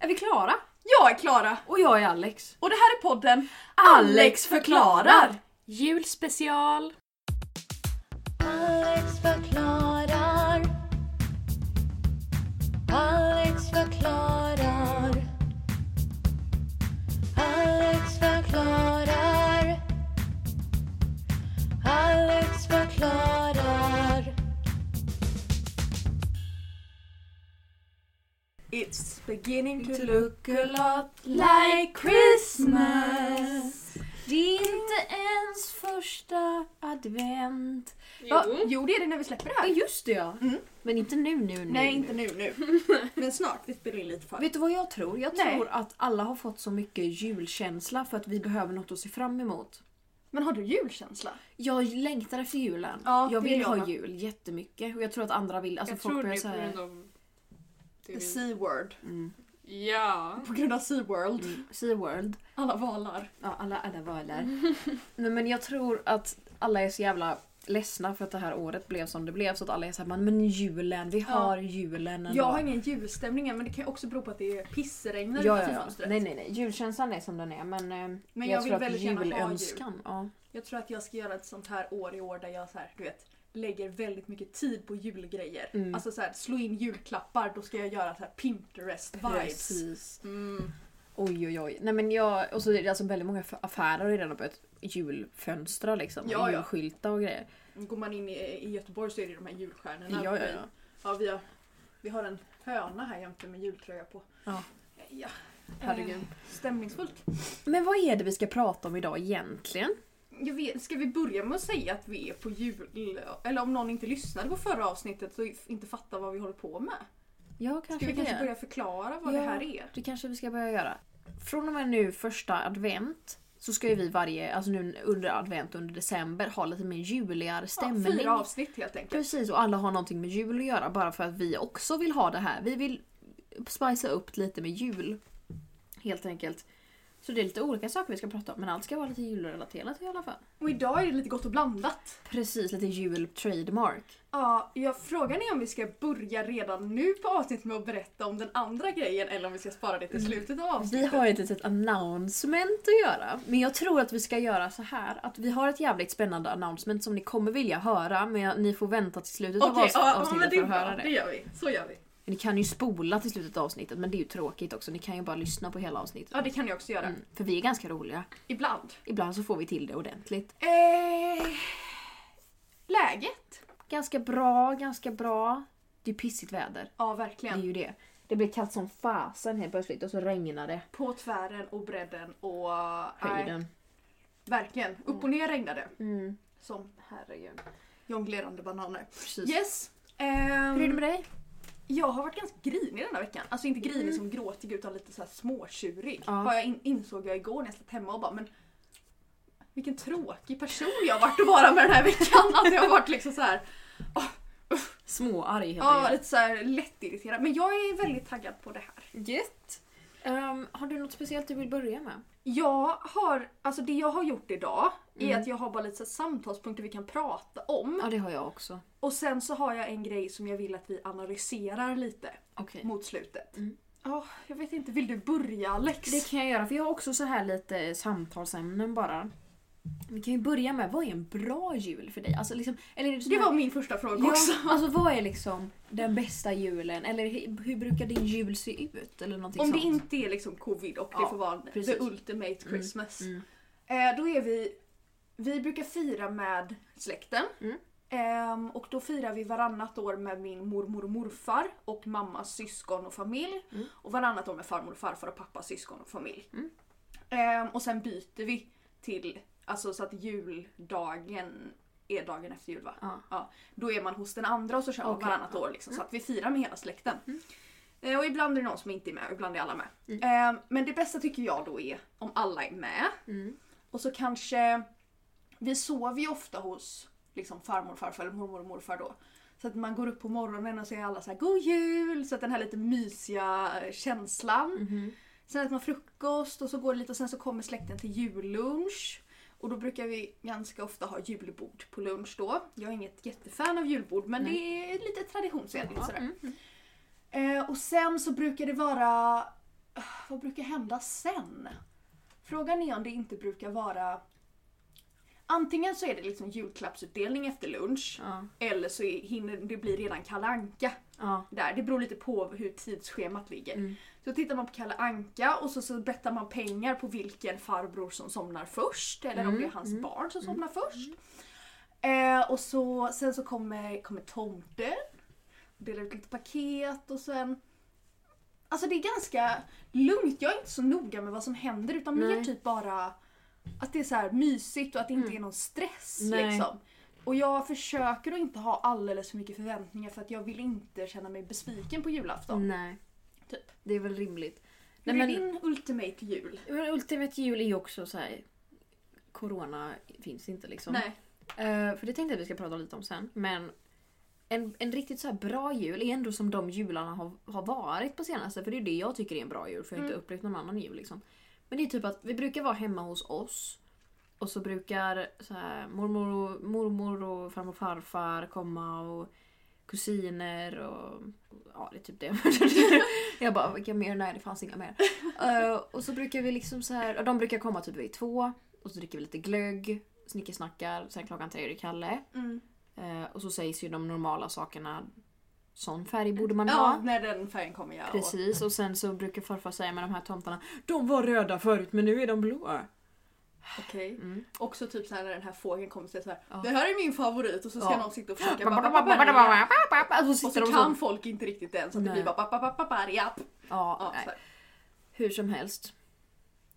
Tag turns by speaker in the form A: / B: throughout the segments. A: Är vi klara?
B: Jag är Klara
A: Och jag är Alex.
B: och det här är podden
A: Alex förklarar.
C: Julspecial!
D: Alex förklarar. Alex förklarar. Alex förklarar. Alex förklarar.
B: It's beginning to look a lot
A: Like Christmas. Det är inte ens första advent.
C: Va?
B: Jo det är det när vi släpper det
A: Ja
B: här.
A: just det ja.
B: Mm.
A: Men inte nu, nu, nu.
B: Nej
A: nu.
B: inte nu nu. Men snart, vi spelar in lite för.
A: Vet du vad jag tror? Jag
B: Nej.
A: tror att alla har fått så mycket julkänsla för att vi behöver något att se fram emot.
B: Men har du julkänsla?
A: Jag längtar efter julen.
B: Ja,
A: jag
B: det
A: vill
B: gör
A: ha
B: jag.
A: jul jättemycket. Och jag tror att andra vill. Alltså
C: jag
A: folk
C: tror det
A: börjar
C: är
A: säga...
C: på grund av... det
B: The
C: vi-
B: C-word.
A: Mm.
C: Ja.
B: På grund av C-world.
A: Sea World.
B: Alla valar.
A: Ja, alla, alla valar. Nej, men jag tror att alla är så jävla ledsna för att det här året blev som det blev. Så att alla är såhär, men julen, vi
B: Ja.
A: har julen ändå.
B: Jag har ingen julstämning än men det kan ju också bero på att det är pissregnar
A: ja, ja,
B: utanför
A: ja.
B: fönstret.
A: Nej, nej, nej. Julkänslan är som den är. Men, eh, jag,
B: Men jag vill
A: tror att
B: väldigt gärna ha jul.
A: julönskan, ja.
B: Jag tror att jag ska göra ett sånt här år i år där jag så här, du vet, lägger väldigt mycket tid på julgrejer.
A: Mm.
B: Alltså så här, slå in julklappar, då ska jag göra så här Pinterest-vibes.
A: Precis.
C: Mm.
A: Oj, oj, oj. Nej, men jag, och så är det alltså väldigt många affärer har ju redan börjat julfönstra liksom.
B: Ja,
A: och
B: ja.
A: julskyltar och grejer.
B: Går man in i, i Göteborg så är det de här julstjärnorna.
A: Ja, ja,
B: Vi-
A: ja.
B: ja vi, har, vi har en höna här jämte med jultröja på.
A: Ja.
B: ja.
A: Herregud.
B: Eh, stämningsfullt.
A: Men vad är det vi ska prata om idag egentligen?
B: Jag vet, ska vi börja med att säga att vi är på jul... Eller om någon inte lyssnade på förra avsnittet och inte fattar vad vi håller på med.
A: Ja,
B: Ska vi kanske börja förklara vad
A: Ja.
B: det här är?
A: Det kanske vi ska börja göra. Från och med nu första advent så ska ju vi varje, alltså nu under advent under december ha lite mer juligare stämning.
B: Ja, fyra avsnitt helt enkelt.
A: Precis och alla har någonting med jul att göra bara för att vi också vill ha det här. Vi vill spicea upp lite med jul. Helt enkelt. Så det är lite olika saker vi ska prata om men allt ska vara lite julrelaterat i alla fall.
B: Och idag är det lite gott och blandat.
A: Precis, lite jul-trademark.
B: Ja, jag frågan är om vi ska börja redan nu på avsnittet med att berätta om den andra grejen eller om vi ska spara det till slutet av
A: Mm. Vi
B: avsnittet.
A: har ett litet announcement att göra. Men jag tror att vi ska göra så här att vi har ett jävligt spännande announcement som ni kommer vilja höra men ni får vänta till slutet av
B: Okej,
A: avs-
B: ja, ja, men
A: avsnittet
B: det
A: för
B: är
A: att höra
B: bra. Det
A: det.
B: gör vi. Så gör vi.
A: Ni kan ju spola till slutet av avsnittet men det är ju tråkigt också. Ni kan ju bara lyssna på hela avsnittet.
B: Ja, det kan jag också göra.
A: Mm, för vi är ganska roliga.
B: Ibland.
A: Ibland så får vi till det ordentligt.
B: Eh, läget?
A: Ganska bra, ganska bra. Det är pissigt väder.
B: Ja,
A: Det är
B: verkligen.
A: ju det. Det blir kallt som fasen helt plötsligt och så regnar det.
B: På tvären och bredden och... Nej,
A: Höjden.
B: verkligen. Upp och ner regnade.
A: Mm.
B: Som
A: Herregud.
B: jonglerande bananer.
A: Precis.
B: Yes. ehm,
A: Hur är det med dig?
B: Jag har varit ganska grinig den här veckan. Alltså inte grinig som gråtig utan lite så här småtjurig.
A: Mm. Ja.
B: Har jag in, insåg jag igår när jag satt hemma och bara men vilken tråkig person jag har varit att vara med den här veckan. Alltså jag har varit liksom så här,
A: Småarg helt
B: ja, lite så här lättirriterad. Men jag är väldigt taggad på det här.
A: Gött! Ehm, har du något speciellt du vill börja med?
B: Jag har, alltså det jag har gjort idag är
A: Mm.
B: att jag har bara lite så här samtalspunkter vi kan prata om.
A: Ja, det har jag också.
B: Och sen så har jag en grej som jag vill att vi analyserar lite
A: Okej.
B: mot slutet. Ja,
A: Mm.
B: jag vet inte, vill du börja Alex?
A: Det kan jag göra, för jag har också så här lite samtalsämnen bara. Vi kan ju börja med, vad är en bra jul för dig? Alltså liksom, eller är det, sån
B: Det
A: här-
B: var min första fråga
A: ja,
B: också.
A: Alltså vad är liksom den bästa julen? Eller hur, hur brukar din jul se ut? Eller någonting
B: Om det
A: sånt.
B: inte är liksom covid och det
A: Ja,
B: får vara
A: precis.
B: the ultimate Christmas.
A: mm.
B: Eh, då är vi, vi brukar fira med släkten.
A: Mm.
B: Ehm, och då firar vi varannat år med min mormor och morfar och mammas syskon och familj.
A: Mm.
B: Och varannat år med farmor och farfar och pappas syskon och familj.
A: Mm.
B: Ehm, och sen byter vi till, alltså så att juldagen är dagen efter jul va?
A: Ja.
B: Då är man hos den andra och så kör man
A: Okej,
B: varannat
A: ja.
B: år liksom. Så att vi firar med hela släkten.
A: Mm.
B: Eh, Och ibland är det någon som inte är med och ibland är alla med. Eh, Men det bästa tycker jag då är om alla är med.
A: Mm.
B: Och så kanske, vi sover ju ofta hos liksom farmor och farfar eller mormor och morfar då. Så att man går upp på morgonen och säger alla så här God Jul! Så att den här lite mysiga eh, känslan.
A: Mhm.
B: Sen äter man frukost och så går det lite och sen så kommer släkten till jullunch. Och då brukar vi ganska ofta ha julbord på lunch då. Jag är inget jättefan av julbord men
A: Nej. mm,
B: det är lite traditionsenligt
A: Ja,
B: sådär.
A: mm.
B: Eh, och sen så brukar det vara vad brukar hända sen? Frågan är om det inte brukar vara... Antingen så är det liksom julklappsutdelning efter lunch.
A: Ja.
B: Eller så är- hinner det bli redan Kalle Anka
A: Ja.
B: där. Det beror lite på hur tidsschemat ligger.
A: Mm.
B: Så tittar man på Kalle Anka och så, så bettar man pengar på vilken farbror som somnar först. Eller om
A: Mm,
B: det är hans
A: mm,
B: barn som somnar först. Eh, och så, sen så kommer, kommer tomten. Delar ut lite paket och sen... Alltså det är ganska lugnt. Jag är inte så noga med vad som händer utan mer
A: Nej.
B: typ bara att det är så här mysigt och att det inte
A: Mm.
B: är någon stress.
A: Nej.
B: Liksom. Och jag försöker att inte ha alldeles för mycket förväntningar för att jag vill inte känna mig besviken på julafton.
A: Nej.
B: Typ.
A: Det är väl rimligt.
B: Hur
A: Nej, men-
B: är din ultimate jul?
A: Men Ultimate jul är ju också så här. Corona finns inte liksom.
B: Nej.
A: Eh, för det tänkte jag att vi ska prata lite om sen. Men en, en riktigt så här bra jul är ändå som de jularna har, har varit på senaste. För det är det jag tycker är en bra jul för jag har inte upplevt någon annan jul. Liksom. Men det är typ att vi brukar vara hemma hos oss. Och så brukar så här, mormor, och, mormor och farmor och farfar komma och kusiner och... Ja, det är typ det. jag bara, vilka mer? Nej, det fanns inga mer. Eh, och så brukar vi liksom så här... De brukar komma typ vid två. Och så dricker vi lite glögg, snickesnackar, sen klockan tre är det Kalle.
B: Mm.
A: Eh, och så sägs ju de normala sakerna. Sån färg borde man
B: Ja,
A: ha.
B: när den färgen kommer jag. Och,
A: Precis, och sen så brukar farfar säga med de här tomtarna De var röda förut men nu är de blåa.
B: Okej.
A: Mm.
B: Också typ såhär när den här fågeln kommer så är det såhär
A: Ja.
B: Det här är min favorit och så ska
A: Ja.
B: någon sitta och försöka "Papapaparia".
A: Och så
B: Och
A: sitter de
B: så kan
A: så.
B: folk inte riktigt den så att det
A: Nej.
B: blir bara papapaparia.
A: Ja,
B: Ja,
A: nej.
B: så här.
A: Hur som helst.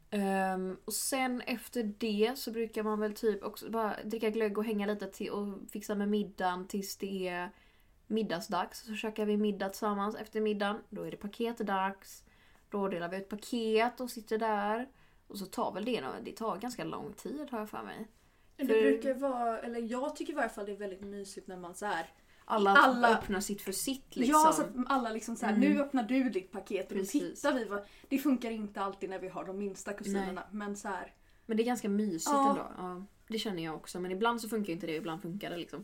A: Ehm, och sen efter det så brukar man väl typ också bara dricka glögg och hänga lite till och fixa med middagen tills det är middagsdags. Så käkar vi middag tillsammans efter middagen. Då är det paketdags. Då delar vi ut paket och sitter där. Och så tar väl det, nå- det tar ganska lång tid har jag för mig.
B: Det
A: För-
B: brukar vara, eller jag tycker i varje fall det är väldigt mysigt när man såhär
A: Alla,
B: Alla-
A: öppnar sitt för sitt liksom.
B: Ja, så att alla liksom såhär,
A: Mm.
B: nu öppnar du ditt paket och då
A: Precis.
B: tittar vi. Vad, det funkar inte alltid när vi har de minsta kusinerna.
A: Nej.
B: Men såhär,
A: Men det är ganska mysigt
B: Ja.
A: ändå. Ja, det känner jag också. Men ibland så funkar inte det, ibland funkar det liksom.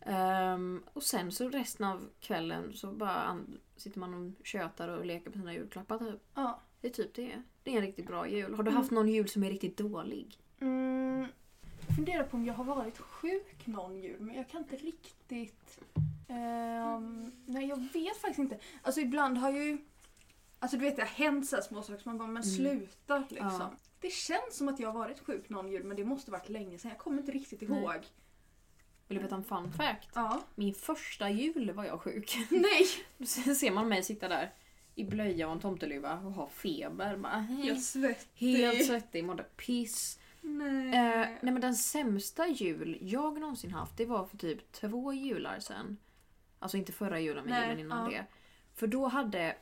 A: Ehm, och sen så resten av kvällen så bara an- sitter man och tjötar och leker på sina julklappar typ.
B: ja.
A: Det är typ det. Det är en riktigt bra jul. Har du haft någon jul som är riktigt dålig?
B: Mm, jag funderar på om jag har varit sjuk någon jul men jag kan inte riktigt... ehm, nej jag vet faktiskt inte. Alltså ibland har ju... Alltså du vet det har hänt så här små saker som man bara men
A: Mm.
B: sluta liksom.
A: Ja.
B: Det känns som att jag har varit sjuk någon jul men det måste varit länge sedan. Jag kommer inte riktigt
A: Nej.
B: ihåg.
A: Vill du veta en fun fact?
B: Ja.
A: Min första jul var jag sjuk.
B: Nej!
A: Sen ser man mig sitta där i blöja och en tomteluva och ha feber. Bara, hej.
B: Jag svettig.
A: Helt svettig, mådde piss.
B: Nej.
A: Eh, nej men den sämsta jul jag någonsin haft det var för typ två jular sen. Alltså inte förra julen men
B: Nej,
A: julen innan
B: ja.
A: det. För då hade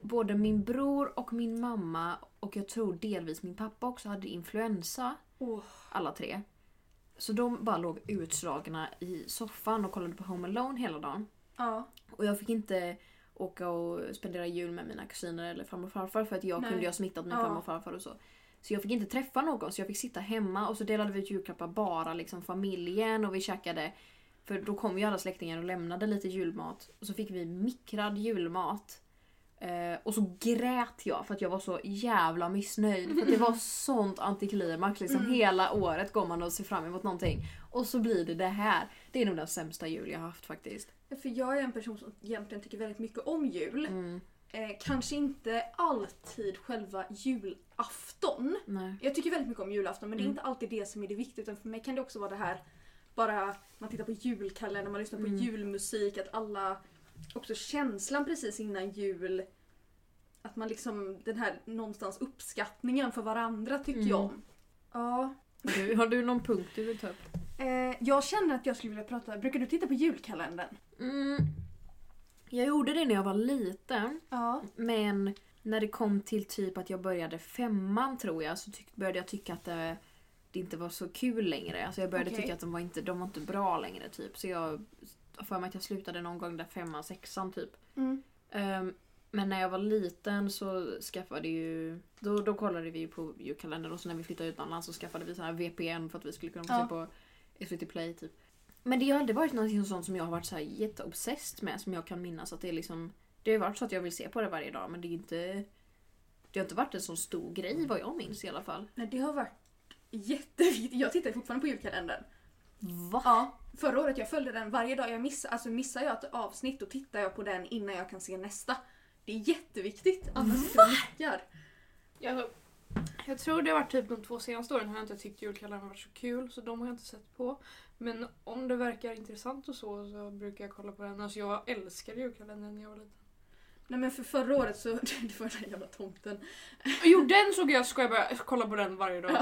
A: både min bror och min mamma och jag tror delvis min pappa också hade influensa.
B: Åh.
A: Alla tre. Så de bara låg utslagna i soffan och kollade på Home Alone hela dagen.
B: Ja.
A: Och jag fick inte åka och spendera jul med mina kusiner eller farmor och farfar för att jag
B: Nej.
A: kunde ju ha smittat min
B: Ja.
A: farmor och farfar och så. Så jag fick inte träffa någon så jag fick sitta hemma och så delade vi ut julklappar bara liksom familjen och vi käkade för då kom ju alla släktingar och lämnade lite julmat och så fick vi mikrad julmat. Eh, och så grät jag för att jag var så jävla missnöjd för att det var sånt antiklimax liksom
B: Mm.
A: hela året går man och ser fram emot någonting och så blir det det här. Det är nog den sämsta jul jag har haft faktiskt.
B: För jag är en person som egentligen tycker väldigt mycket om jul.
A: Mm.
B: Eh, kanske inte alltid själva julafton.
A: Nej.
B: Jag tycker väldigt mycket om julafton men det är inte alltid det som är det viktiga utan för mig kan det också vara det här bara man tittar på julkalendern, man lyssnar på julmusik, att alla också känslan precis innan jul att man liksom den här någonstans uppskattningen för varandra tycker
A: Mm.
B: jag om. Ja.
A: Du, har du någon punkt du vill ta upp?
B: Eh, jag känner att jag skulle vilja prata, brukar du titta på julkalendern?
A: Mm. Jag gjorde det när jag var liten.
B: Ja.
A: Men när det kom till typ att jag började femman tror jag så tyck- började jag tycka att det, det inte var så kul längre. Alltså jag började
B: Okej.
A: tycka att de var, inte, de var inte bra längre typ. Så jag har för mig att jag slutade någon gång där femman, sexan typ.
B: Mm.
A: Ehm, men när jag var liten så skaffade ju... Då, då kollade vi ju på julkalendern och så när vi flyttade utomlands så skaffade vi sån här VPN för att vi skulle kunna få
B: Ja.
A: se på SVT Play typ. Men det har aldrig varit någonting sånt som jag har varit så här jätteobsessed med som jag kan minnas att det är liksom... Det har ju varit så att jag vill se på det varje dag men det är inte... Det har inte varit en sån stor grej vad jag minns i alla fall.
B: Nej, det har varit jätteviktigt. Jag tittar fortfarande på julkalendern.
A: Va?
B: Ja, förra året jag följde den varje dag. Jag missar, alltså missar jag ett avsnitt och tittar jag på den innan jag kan se nästa. Det är jätteviktigt. Annars funkar.
C: Jag, jag tror det har varit typ de två senaste åren har jag inte tyckt julkalendern varit så kul så de har jag inte sett på. Men om det verkar intressant och så så brukar jag kolla på den. Alltså jag älskade julkalendern när jag var liten.
B: Nej men för förra året så... Det var den här jävla tomten.
C: Jo den såg jag, ska jag börja kolla på den varje dag.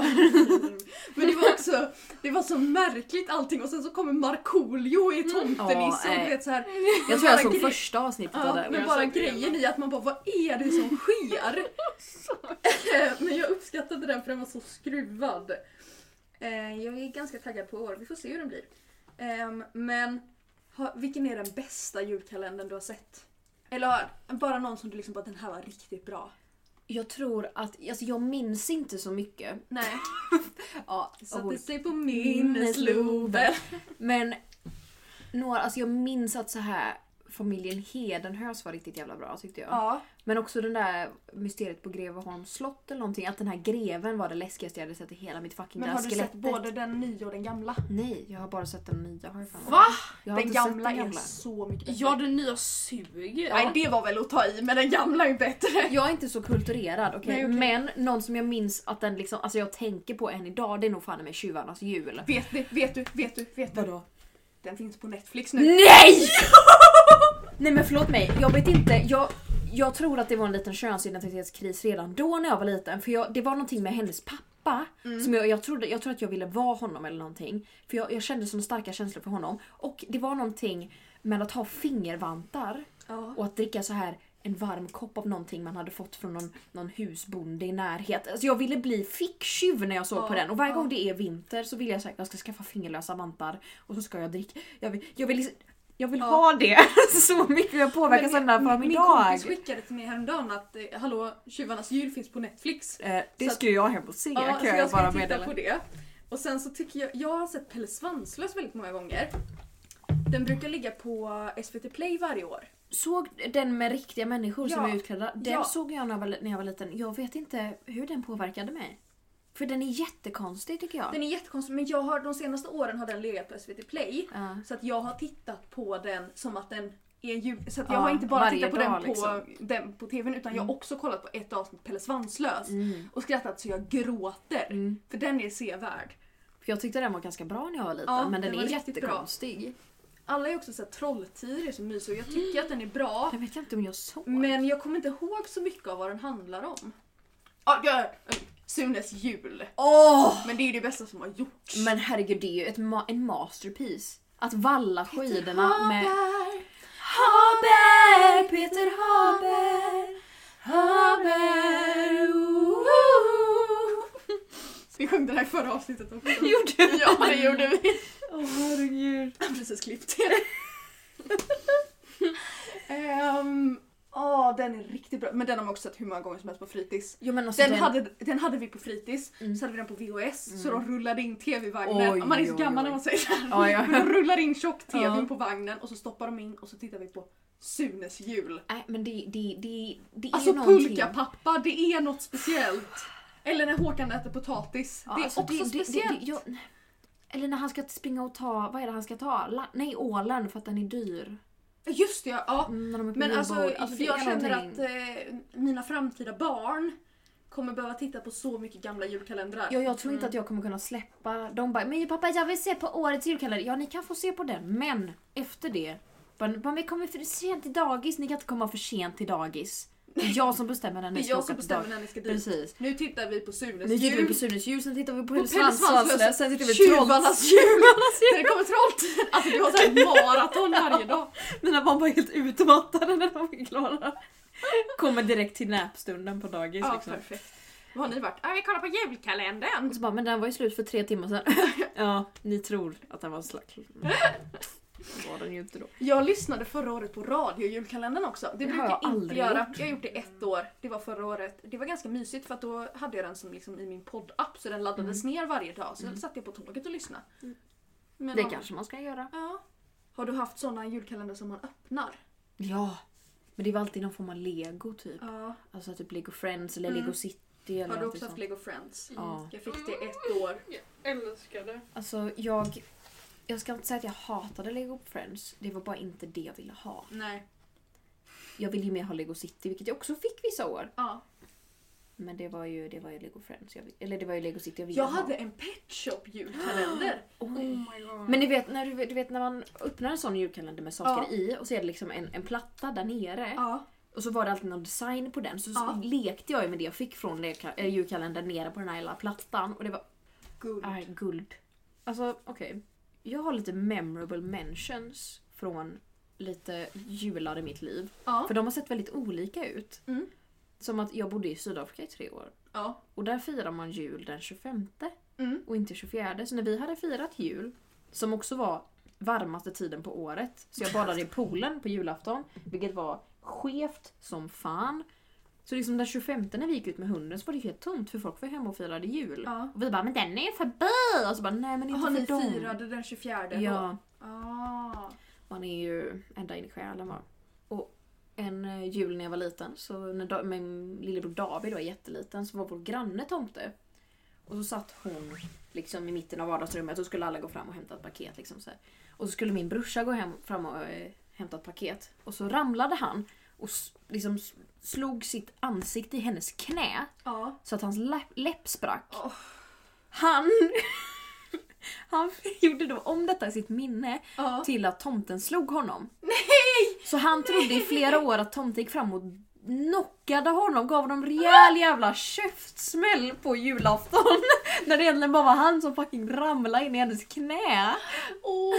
B: Men det var också... Det var så märkligt allting och sen så kommer Markoolio i tomtenissen
A: Ja,
B: och du vet såhär...
A: Jag tror jag såg
B: gre-
A: första avsnittet av
B: Ja,
A: det.
B: men
C: jag
B: bara
C: såg det
B: grejen i att man bara vad är det som sker? Eh, men jag uppskattade den för den var så skruvad. Eh, Jag är ganska taggad på året, vi får se hur den blir. Ehm, Men ha- vilken är den bästa julkalendern du har sett? Eller har- bara någon som du liksom bara den här var riktigt bra.
A: Jag tror att, alltså jag minns inte så mycket.
B: Nej,
A: Ja,
B: satte
A: och-
B: sig på minnesloben.
A: men några, alltså jag minns att så här familjen Hedenhös var riktigt jävla bra tyckte jag.
B: Ja,
A: Men också den där mysteriet på Greveholms slott eller någonting. Att den här greven var det läskigaste jag hade sett i hela mitt fucking
B: men
A: det här
B: har du
A: skelettet.
B: sett både den nya och den gamla?
A: Nej, jag har bara sett den nya har jag för mig.
C: Va?
A: Jag har
B: Den
A: inte sett
B: gamla
A: den
B: är
A: gamla.
B: så mycket bättre.
C: Ja den nya suger.
B: Nej det var väl att ta i men den gamla är bättre.
A: Jag är inte så kulturerad okej.
B: Nej, okej.
A: men någon som jag minns att den liksom, alltså jag tänker på än idag det är nog fan med Tjuvarnas jul.
B: Vet du, vet du, vet du, vet du. Den finns på Netflix nu.
A: Nej! Nej men förlåt mig, jag vet inte. Jag, jag tror att det var en liten könsidentitetskris redan då när jag var liten. För jag, det var någonting med hennes pappa. Som jag, jag, trodde, jag tror att jag ville vara honom eller någonting. För jag, jag kände såna starka känslor för honom. Och det var någonting med att ha fingervantar
B: Ja.
A: och att dricka så här en varm kopp av någonting man hade fått från någon, någon husbonde i närhet. Alltså jag ville bli ficktjuv när jag såg
B: Ja,
A: på den och varje
B: ja.
A: gång det är vinter så vill jag säga jag ska skaffa fingerlösa vantar och så ska jag dricka. Jag vill, jag vill, liksom- jag vill
B: Ja.
A: ha det så mycket jag påverkas av den här
B: min, min
A: förmiddagen.
B: kompis skickade till mig häromdagen att eh, hallå, Tjuvarnas jul finns på Netflix.
A: Eh, det
B: så att-
A: ska ju jag hem och se
B: så
A: kan jag,
B: ska
A: bara
B: titta
A: meddela.
B: på det. Och sen så tycker jag, jag har sett Pelle Svanslös väldigt många gånger. Den brukar ligga på SVT Play varje år.
A: Såg den med riktiga människor som
B: Ja.
A: är utklädda? Den
B: Ja.
A: såg jag när jag, var, när jag var liten. Jag vet inte hur den påverkade mig. För den är jättekonstig tycker jag.
B: Den är jättekonstig men jag har, de senaste åren har den legat på SVT Play.
A: Ja.
B: Så att jag har tittat på den som att den är en jul... Så att jag
A: Ja,
B: har inte bara
A: varje
B: tittat på,
A: dag,
B: den, på
A: liksom.
B: den på TVn utan jag har också kollat på ett avsnitt Pelle Svanslös.
A: Mm.
B: Och skrattat så jag gråter.
A: Mm.
B: För den är sevärd.
A: För jag tyckte den var ganska bra när jag var liten
B: Ja,
A: men den,
B: den
A: är
B: var riktigt bra.
A: jättekonstig.
B: Alla är också så här, Trolltider är så mysig och jag tycker att den är bra.
A: Jag vet inte om jag såg.
B: Men jag kommer inte ihåg så mycket av vad den handlar om. Ja, ja, ja, Sunes jul.
A: Åh!
B: Men det är ju det bästa som har gjorts.
A: Men herregud det är ju ett ma- en masterpiece. Att valla skidorna med...
B: Haber,
A: Haber, Peter Haber,
B: Haber, ooh. Vi sjöng den här i förra avsnittet också.
A: Gjorde vi?
B: Ja, det gjorde vi.
A: Åh herregud.
B: Jag har precis klippt det. um, den är riktigt bra. Men den har man också sett hur många gånger som helst på fritids.
A: Jo, men alltså
B: Den,
A: den,
B: Hade, den hade vi på fritids,
A: Mm.
B: så hade vi den på VHS, så
A: Mm.
B: de rullade in tv-vagnen.
A: Oj,
B: Man är så
A: oj,
B: gammal
A: oj.
B: när man säger så här.
A: Ja, ja.
B: Men de rullar in tjock-tvn
A: Ja.
B: på vagnen och så stoppar de in och så tittar vi på Sunes jul.
A: Nej men det, det, det, det är
B: Alltså
A: ju någonting.
B: pulkapappa, det är något speciellt. Eller när Håkan äter potatis.
A: Ja,
B: det är
A: alltså,
B: också
A: det-
B: speciellt.
A: det- jag- Eller när han ska springa och ta, vad är det han ska ta? La, nej ålen för att den är dyr.
B: Just det, ja. ja.
A: Mm, när de är på
B: Men alltså,
A: julbord.
B: för
A: det
B: jag
A: är
B: känner
A: någonting-
B: att eh, mina framtida barn kommer behöva titta på så mycket gamla julkalendrar.
A: Ja, jag tror
B: Mm.
A: inte att jag kommer kunna släppa. De bara, men pappa jag vill se på årets julkalender. Ja, ni kan få se på den, men efter det. Bara, "Men vi kommer för sent till dagis, ni kan inte komma för sent till dagis. Det är jag som bestämmer när
B: det
A: ni
B: är
A: ska
B: jag
A: åka
B: som
A: på
B: bestämmer
A: dagis.
B: när ni ska dit.
A: Precis.
B: Nu tittar vi på Sunes
A: Nu tittar vi
B: jul.
A: på Sunes jul, sen tittar vi på
B: På
A: Pelle
B: Pelle
A: Svanslös,
B: Svanslös,
A: sen tittar vi på
B: Tjuvarnas
A: Trolls.
B: jul! När det kommer trolltider! Alltså det var såhär maraton varje dag.
A: Mina barn var helt utmattade när de var klara. Kommer direkt till näpstunden på dagis.
B: Ja,
A: liksom.
B: perfekt. Vad har ni varit? Ah, vi kollar på julkalendern!
A: Och så bara, men den var ju slut för tre timmar sedan. ja, ni tror att den var slack. Det var den ju inte då.
B: Jag lyssnade förra året på radio julkalendern också. Det brukar
A: har
B: jag,
A: jag
B: inte
A: aldrig
B: göra. Jag har gjort det ett år. Det var förra året. Det var ganska mysigt för att då hade jag den som liksom i min poddapp så den laddades
A: Mm.
B: ner varje dag. Så satt jag på tåget och lyssnade. Men
A: Det
B: har-
A: kanske man ska göra. Typ.
B: Ja. Har du haft såna julkalender som man öppnar?
A: Ja. Men det var alltid någon form av lego typ.
B: Ja.
A: Alltså typ Lego Friends eller
B: Mm.
A: Lego City eller
B: Har du
A: något
B: också haft
A: sånt.
B: Lego Friends?
A: Ja.
B: Jag fick det ett år.
C: Älskar det.
A: Alltså jag... Jag ska inte säga att jag hatade Lego Friends. Det var bara inte det jag ville ha.
B: Nej.
A: Jag ville ju mer ha Lego City, vilket jag också fick vissa år.
B: Ja.
A: Men det var ju, det var ju Lego Friends. Jag, vill- eller det var ju Lego City jag ville
B: Jag
A: ha.
B: hade Mm. en Pet Shop julkalender.
A: Oj.
C: Oh my god.
A: Men ni vet, när, du, du vet när man öppnar en sån julkalender med saker
B: Ja.
A: i och så är det liksom en, en platta där nere.
B: Ja.
A: Och så var det alltid någon design på den. Så,
B: Ja.
A: så lekte jag ju med det jag fick från leka- äh, julkalendern nere på den här lilla plattan. Och det var
B: Guld.
A: äh, guld. Alltså okej. Jag har lite memorable mentions från lite jular i mitt liv.
B: Ja.
A: För de har sett väldigt olika ut.
B: Mm.
A: Som att jag bodde i Sydafrika i tre år.
B: Ja.
A: Och där firar man jul den 25
B: Mm.
A: och inte 24. Så när vi hade firat jul, som också var varmaste tiden på året, så jag badade i poolen på julafton, vilket var skevt som fan. Så liksom den 25 när vi gick ut med hunden så var det helt tomt för folk var hemma och firade jul.
B: Ja.
A: Och vi bara “men den är ju förbi!” och så bara “nej men inte
B: Har
A: för
B: ni
A: dem”.
B: firade den 24 då?
A: Ja,
B: Ah.
A: man är ju ända in i själen var. Och en eh, jul när jag var liten, så när da- min lillebror David då är jätteliten, så var vår granne tomte. Och så satt hon liksom i mitten av vardagsrummet och så skulle alla gå fram och hämta ett paket. Liksom så här. Och så skulle min brorsa gå hem, fram och eh, hämta ett paket. Och så ramlade han och s- liksom s- slog sitt ansikte i hennes knä
B: Ja.
A: så att hans läpp, läpp sprack.
B: Åh.
A: Han, han gjorde då om detta i sitt minne
B: Ja.
A: till att tomten slog honom. Nej! Så han trodde i flera år att tomten gick fram och knockade honom, gav honom rejäl jävla käftsmäll på julafton. När det egentligen bara var han som fucking ramlade in i hennes knä.
B: Åh,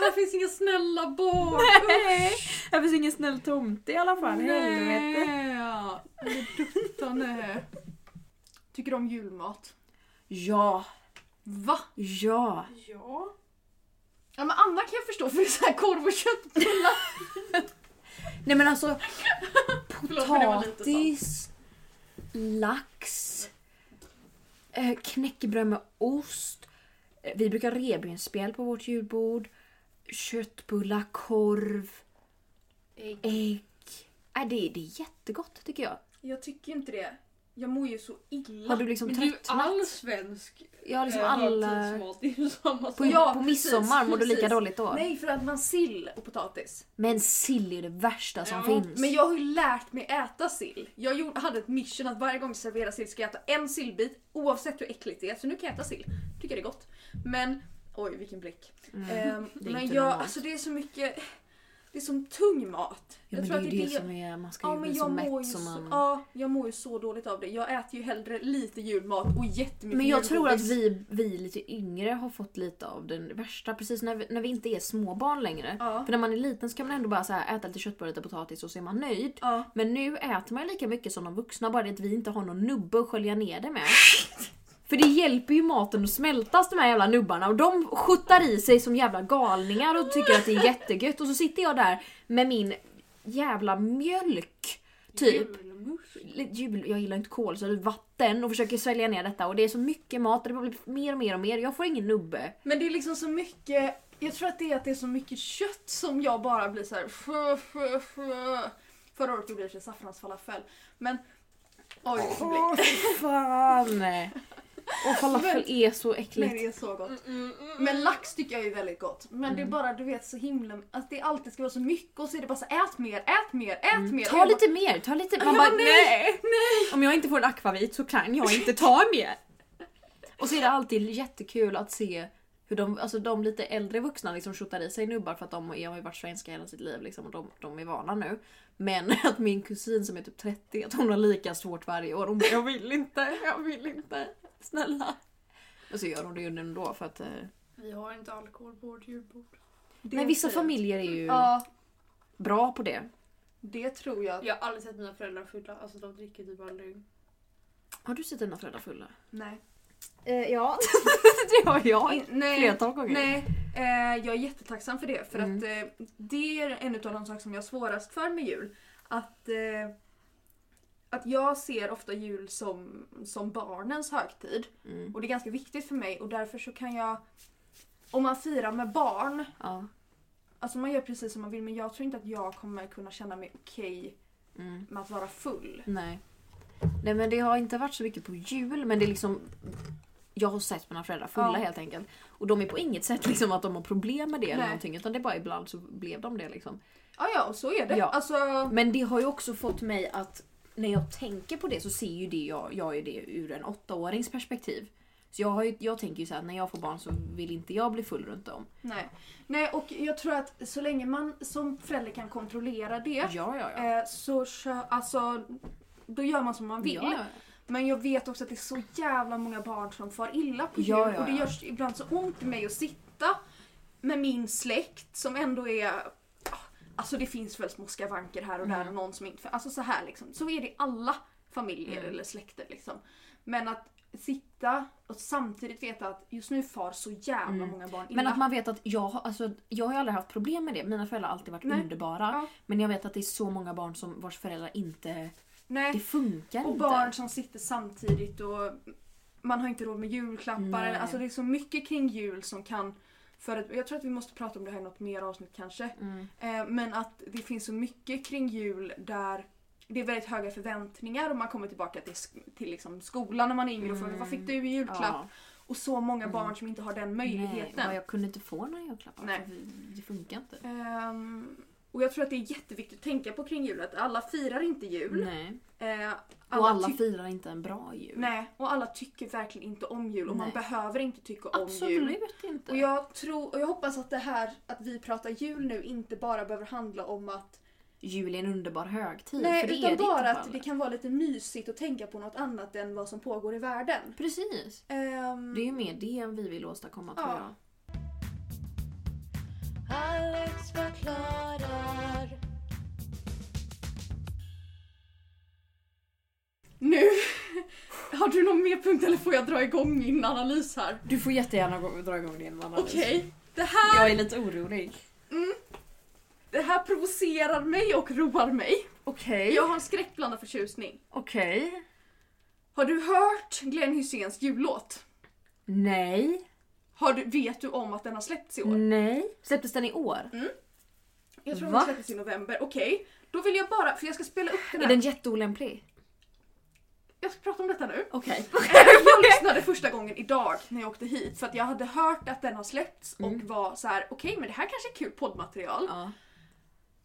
B: här finns inga snälla barn!
A: Nej! Det finns ingen snäll tomte i alla fall, helvete.
B: Nej! Duttane. Tycker du om julmat?
A: Ja,
B: Va?
A: ja.
C: Ja.
B: Ja men Anna kan jag förstå för det är så här korv och kött.
A: Nej men alltså
B: Förlåt, men det var lite
A: Potatis, lax, eh, knäckebröd med ost. Eh, Vi brukar ha revbensspjäll på vårt julbord. Köttbullar, korv,
C: Ägg.
A: ägg. Äh, det, det är jättegott tycker jag.
B: Jag tycker inte det. Jag mår ju så illa.
A: Har du liksom
C: Men det är ju
A: tröttnat?
C: all svensk
A: Jag har liksom
C: eh,
A: alla...
C: högtidsmat. Det är ju samma
A: På,
C: sak.
B: Ja,
A: på
B: precis,
A: midsommar mår du lika
B: precis.
A: dåligt då.
B: Nej för att man sill och potatis.
A: Men sill är ju det värsta som
C: Ja,
A: finns.
B: Men jag har ju lärt mig äta sill. Jag gjorde, hade ett mission att varje gång jag serverar sill ska jag äta en sillbit oavsett hur äckligt det är. Så nu kan jag äta sill. Tycker det är gott. Men oj vilken blick.
A: Mm.
B: Ehm,
A: det är
B: men
A: inte
B: jag,
A: normalt.
B: alltså det är så mycket, det är som tung mat.
A: Ja, men det är ju det, som är... Man ska ju
B: Ja, men
A: bli så
B: jag, mår
A: mätt
B: ju så,
A: som man...
B: ja, jag mår ju så dåligt av det. Jag äter ju hellre lite julmat och jättemycket
A: Men jag tror att
B: julgodis.
A: vi, vi lite yngre har fått lite av den värsta, precis när vi, när vi inte är småbarn längre.
B: Ja.
A: För när man är liten så kan man ändå bara så här, äta lite köttbullar och lite potatis och så är man nöjd.
B: Ja.
A: Men nu äter man ju lika mycket som de vuxna, bara det att vi inte har någon nubbe att skölja ner det med. För det hjälper ju maten att smältas de här jävla nubbarna och de skjuttar i sig som jävla galningar och tycker att det är jättegött och så sitter jag där med min jävla mjölk. Typ
C: Julmust.
A: lite jul, jag gillar inte kol så det är vatten och försöker svälja ner detta och det är så mycket mat och det blir mer och mer och mer. Jag får ingen nubbe.
B: Men det är liksom så mycket, jag tror att det är att det är så mycket kött som jag bara blir så här. Fö, fö, fö. Förra året gjorde jag i och för sig saffransfalafel. Men oj, vilken blick.
A: fan! Och falafel är så
B: Nej,
A: äckligt.
B: det är så gott.
C: Mm, mm, mm.
B: Men lax tycker jag är väldigt gott. Men det är bara du vet så himla, att det alltid ska vara så mycket och så är det bara så ät mer, ät mer, ät mer.
A: Mm. Ta
B: Jag
A: lite mer, ta lite. Man
B: Ja,
A: bara
B: nej,
A: nej, Om jag inte får en akvavit så kan jag inte ta mer. Och så är det alltid jättekul att se hur de, alltså de lite äldre vuxna liksom tjottar i sig nubbar för att de är- har ju varit svenska hela sitt liv liksom och de, de är vana nu. Men att min kusin som är typ 30, att hon har lika svårt varje år. Hon bara, jag vill inte, jag vill inte. Snälla. Och så gör hon det ju ändå för att... eh,
C: Vi har inte alkohol på vårt julbord.
B: Det
A: Men vissa
B: säger-
A: familjer är ju
B: Ja,
A: bra på det.
B: det tror jag.
C: Jag har aldrig sett mina föräldrar fulla. Alltså de dricker typ aldrig.
A: Har du sett dina föräldrar fulla?
B: Nej.
A: ja. det har jag.
B: In- nej,
A: Flertal gånger.
B: nej. Eh, jag är jättetacksam för det för
A: Mm.
B: att eh, det är en utav de saker som jag har svårast för med jul. Att, eh, att jag ser ofta jul som, som barnens högtid
A: Mm.
B: och det är ganska viktigt för mig och därför så kan jag om man firar med barn
A: Ja.
B: Alltså man gör precis som man vill men jag tror inte att jag kommer kunna känna mig okej
A: Mm.
B: med att vara full.
A: Nej. Nej men det har inte varit så mycket på jul men det är liksom jag har sett mina föräldrar fulla
B: Ja.
A: helt enkelt. Och de är på inget sätt liksom att de har problem med det eller
B: Nej.
A: någonting utan det är bara ibland så blev de det liksom.
B: Ja, ja, och så är det.
A: Ja.
B: Alltså,
A: Men det har ju också fått mig att när jag tänker på det så ser ju det jag, jag är det ur en åttaårings perspektiv. Så jag, har ju, jag tänker ju så här, när jag får barn så vill inte jag bli full runt om.
B: nej. Nej, och jag tror att så länge man som förälder kan kontrollera det
A: ja, ja.
B: eh, så kö- alltså, då gör man som man vill.
A: Ja,
B: Men jag vet också att det är så jävla många barn som far illa på jul
A: Ja, ja,
B: och det
A: ja.
B: görs ibland så ont i mig att sitta med min släkt som ändå är ah, Alltså det finns väl små skavanker här och
A: Mm.
B: där och någon som inte... Alltså så här liksom. Så är det i alla familjer
A: Mm.
B: eller släkter liksom. Men att sitta och samtidigt veta att just nu far så jävla
A: Mm.
B: många barn illa.
A: Men att man vet att jag, har- alltså, jag har ju aldrig haft problem med det. Mina föräldrar har alltid varit
B: Nej.
A: underbara.
B: Ja.
A: Men jag vet att det är så många barn som, vars föräldrar inte... Det
B: Nej.
A: funkar
B: Och
A: inte.
B: barn som sitter samtidigt och man har inte råd med julklappar.
A: Nej.
B: Alltså det är så mycket kring jul som kan... För att, jag tror att vi måste prata om det här i något mer avsnitt kanske.
A: Mm.
B: Eh, men att det finns så mycket kring jul där det är väldigt höga förväntningar och man kommer tillbaka till, sk- till liksom skolan när man är yngre och frågar
A: Mm.
B: vad fick du i julklapp?
A: Ja.
B: Och så många
A: Mm.
B: barn som inte har den möjligheten.
A: Nej, och jag kunde inte få några julklappar.
B: Nej.
A: för vi- Det funkar inte.
B: Ehm, och jag tror att det är jätteviktigt att tänka på kring jul att alla firar inte jul.
A: Nej.
B: Eh,
A: Mm. Och alla
B: tyck-
A: firar inte en bra jul.
B: Nej, och alla tycker verkligen inte om jul och man
A: Nej.
B: behöver inte tycka om jul.
A: Absolut inte.
B: Och jag, tror, och jag hoppas att det här att vi pratar jul nu inte bara behöver handla om att
A: Jul är en underbar högtid. för
B: Nej,
A: det är
B: utan
A: det
B: bara
A: inte
B: att det kan vara lite mysigt att tänka på något annat än vad som pågår i världen.
A: Precis.
B: Ehm,
A: Det är ju mer det än vi vill åstadkomma tror
B: Ja.
A: jag.
D: Alex förklarar.
B: Nu! Har du någon mer punkt eller får jag dra igång min analys här?
A: Du får jättegärna gå- dra igång din analys.
B: Okej, det, här,
A: Jag är lite orolig.
B: det här provocerar mig och roar mig.
A: Okej.
B: Jag har en skräckblandad förtjusning.
A: Okej.
B: Har du hört Glenn Hyséns jullåt?
A: Nej.
B: Har du, vet du om att den har släppts i år?
A: Nej. Mm. Släpptes den i år?
B: Jag tror
A: Va?
B: den släpptes i november. Okej, då vill jag bara, för jag ska spela upp den
A: Är
B: här.
A: den jätteolämplig?
B: Jag ska prata om detta nu.
A: Okej.
B: jag lyssnade första gången idag när jag åkte hit för att jag hade hört att den har släppts och
A: Mm.
B: var så här: okej men det här kanske är kul poddmaterial.
A: Ja.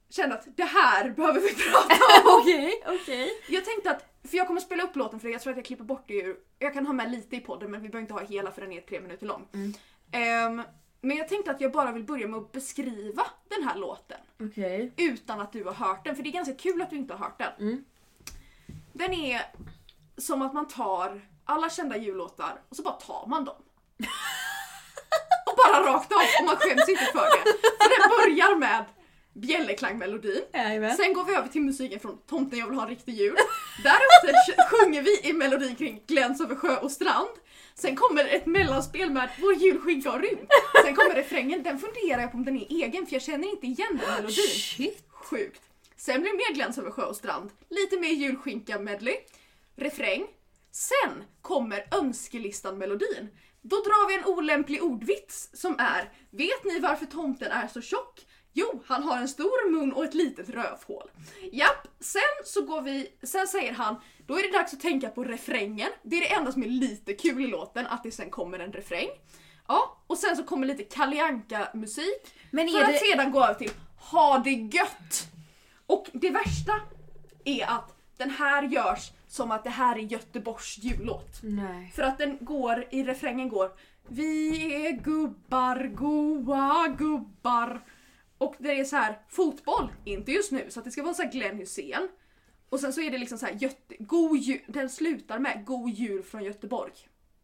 B: Kände att det här behöver vi prata om.
A: Okej, okej.
B: Jag tänkte att, för jag kommer spela upp låten för jag tror att jag klipper bort det ur, jag kan ha med lite i podden men vi behöver inte ha hela för den är tre minuter lång.
A: Mm.
B: Ehm, men jag tänkte att jag bara vill börja med att beskriva den här låten
A: Okej.
B: utan att du har hört den för det är ganska kul att du inte har hört den.
A: Mm.
B: Den är som att man tar alla kända jullåtar och så bara tar man dem. och bara rakt av och man skäms inte för det. För den börjar med bjällerklangmelodin.
A: Jajamän.
B: Sen går vi över till musiken från Tomten jag vill ha en riktig jul. Därefter sj- sjunger vi i melodin kring Gläns över sjö och strand. Sen kommer ett mellanspel med Vår jul, skinka och rymd. Sen kommer refrängen, den funderar jag på om den är egen för jag känner inte igen den melodin.
A: Shit.
B: Sjukt. Sen blir det mer gläns över sjö och strand. Lite mer julskinka medley. Refräng. Sen kommer önskelistan-melodin. Då drar vi en olämplig ordvits som är Vet ni varför tomten är så tjock? Jo, han har en stor mun och ett litet rövhål. Japp, sen så går vi, sen säger han Då är det dags att tänka på refrängen. Det är det enda som är lite kul i låten, att det sen kommer en refräng. Ja, och sen så kommer lite Kalle Anka musik
A: Men
B: för
A: är
B: att
A: det...
B: sedan gå över till ha det gött. Och det värsta är att den här görs som att det här är Göteborgs jullåt.
A: Nej.
B: För att den går, i refrängen går Vi är gubbar, goa gubbar. Och det är så här fotboll, inte just nu, så att det ska vara så här Glenn Hysén. Och sen så är det liksom så här, Göte- god jul, den slutar med God jul från Göteborg.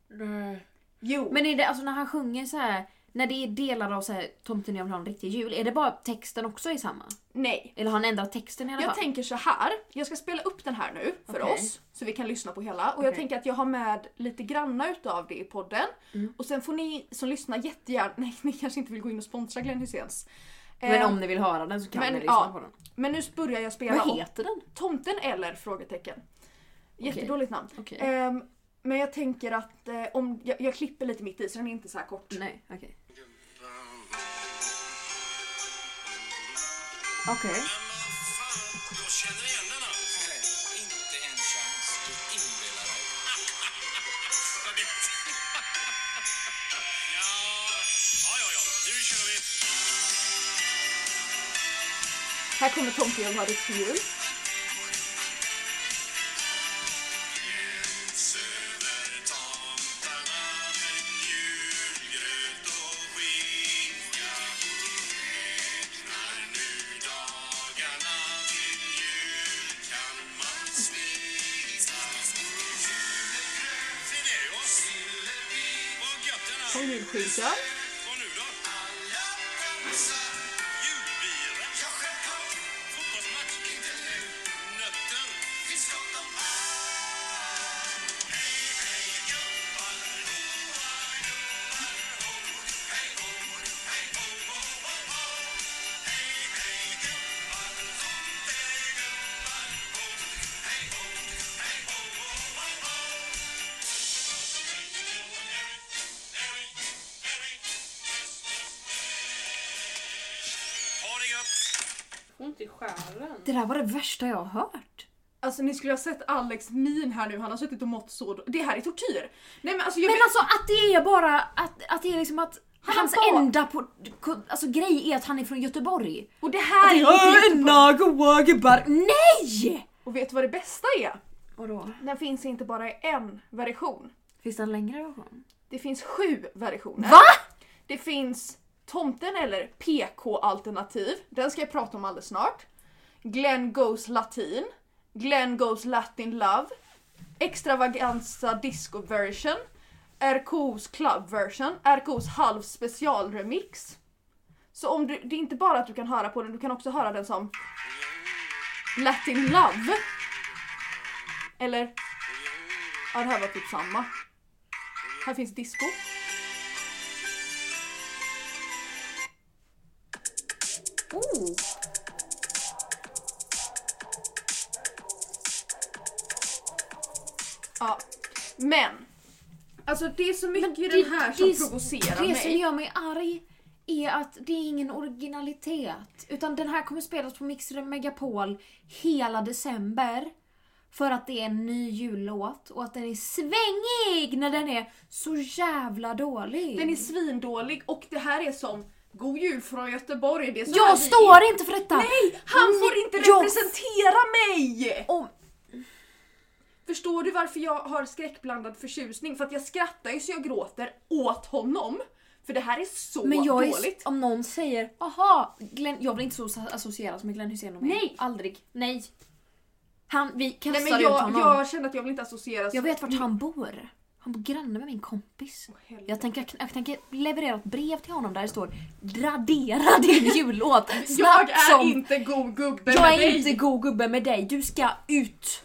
A: Nej.
B: Jo.
A: Men är det alltså när han sjunger så här när det är delar av så här, Tomten jag vill ha en riktig jul, är det bara texten också är samma?
B: nej.
A: Eller har han ändrat texten i alla
B: Jag
A: fall?
B: tänker så här. jag ska spela upp den här nu för
A: Okej.
B: oss så vi kan lyssna på hela och jag
A: Okej.
B: tänker att jag har med lite granna utav det i podden
A: Mm.
B: och sen får ni som lyssnar jättegärna, nej ni kanske inte vill gå in och sponsra Glenn Hyséns.
A: Men
B: Eh,
A: om ni vill höra den så kan
B: men,
A: ni lyssna
B: ja.
A: på den.
B: men nu börjar jag spela
A: Vad
B: om
A: heter den?
B: Tomten eller? frågetecken. Jättedåligt namn.
A: Okej.
B: Ehm, men jag tänker att eh, om, jag, jag klipper lite mitt i så den är inte så här kort.
A: Nej, okej.
E: Gubbar,
A: Okej.
E: Jag känner igen den här. Inte en chans. Du inbillar dig. Jag vet. ja. ja, ja, ja. Nu kör vi.
B: Här kommer tomten och har riktig jul.
E: Södertomtarna med julgröt och skinka. Räknar nu dagarna till jul kan man smita. Julegröt, det är oss. Vad gött den här.
B: Som julskinka.
E: Och nu då? Alla dansar. Julbira. Jag själv har. Fotbollsmatch. Inte nu. Nötter. Finns gott om Hej, hej, gubbar. Hoa, gubbar. Ho, hej, ho, hej, ho, ho, ho, ho. Hej, hej, gubbar. Tomtegubbar. Ho, hej, ho, hej, ho, ho, ho, ho. Ha det gött!
C: Får ont i själen.
A: Det där var det värsta jag har hört.
B: Alltså ni skulle ha sett Alex min här nu, han har suttit och mått så då- Det här är tortyr! Nej men alltså jag
A: Men
B: vet...
A: alltså att det är bara att, att det är liksom att
B: Han
A: hans
B: bara-
A: enda på, ko- alltså, grej är att han är från Göteborg.
B: Och det här är inte på...
A: goa gubbar. Nej!
B: Och vet du vad det bästa är?
A: Vadå?
B: Den finns inte bara i en version.
A: Finns det en längre version?
B: Det finns sju versioner.
A: Va?
B: Det finns Tomten eller PK-alternativ. Den ska jag prata om alldeles snart. Glenn Goes Latin. Glenn Goes Latin Love. Extravaganza Disco Version. RKOs Club Version. RKOs Halv Special Remix. Så om du, det är inte bara att du kan höra på den, du kan också höra den som Latin Love. Eller... Ja, det här var typ samma. Här finns disco.
A: Oh.
B: Ja. Men. Alltså det är så mycket i
A: det-
B: den här
A: det
B: som
A: är s-
B: provocerar
A: Det
B: mig.
A: som gör mig arg är att det är ingen originalitet. Utan den här kommer spelas på Mix Megapol hela december. För att det är en ny jullåt och att den är svängig när den är så jävla dålig.
B: Den är svindålig och det här är som God Jul från Göteborg. Det är så här
A: jag
B: vi-
A: står inte för detta!
B: Nej! Han får
A: Ni-
B: inte
A: jag-
B: representera mig!
A: Om,
B: Förstår du varför jag har skräckblandad förtjusning? För att jag skrattar ju så jag gråter åt honom. För det här är så
A: men jag är,
B: dåligt.
A: om någon säger aha, Glenn, jag blir inte så associerad med Glenn Hysén och mig.
B: Nej.
A: Aldrig. Nej. Han, vi kastar
B: Nej, men
A: ut
B: jag,
A: honom.
B: jag känner att jag vill inte associeras.
A: Jag vet vart han bor. Han bor granne med min kompis.
B: Helvete.
A: Jag tänker, jag tänker leverera ett brev till honom där det står Radera din jullåt!
B: Jag
A: Snabbt
B: är
A: som!
B: inte god gubbe
A: jag
B: med
A: är
B: dig.
A: inte god gubbe med dig, du ska ut!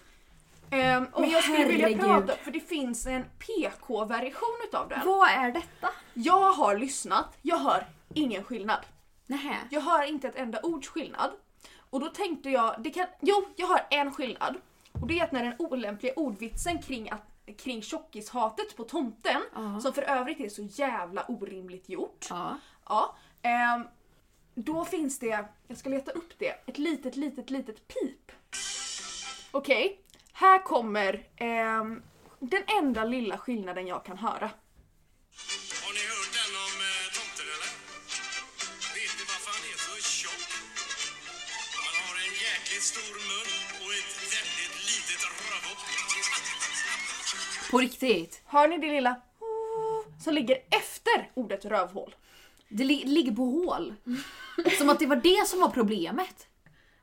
B: Ehm, men
A: Åh,
B: jag skulle vilja
A: herregud.
B: prata, för det finns en PK-version utav den.
A: Vad är detta?
B: Jag har lyssnat, jag hör ingen skillnad.
A: Nähä.
B: Jag hör inte ett enda ords skillnad. Och då tänkte jag, det kan, jo jag hör en skillnad. Och det är att när den olämpliga ordvitsen kring, att, kring tjockishatet på tomten,
A: Ja.
B: som för övrigt är så jävla orimligt gjort.
A: Ja.
B: Ja, ehm, då finns det, jag ska leta upp det, ett litet, litet, litet pip. Okej, här kommer ehm, den enda lilla skillnaden jag kan höra.
E: Har ni hört den om eh, tomten eller? Vet ni varför han är så tjock? Han har en jäkligt stor mun och ett väldigt litet rövhål.
A: På riktigt.
B: Hör ni det lilla som ligger efter ordet rövhål?
A: Det li- ligger på hål. Som att det var det som var problemet.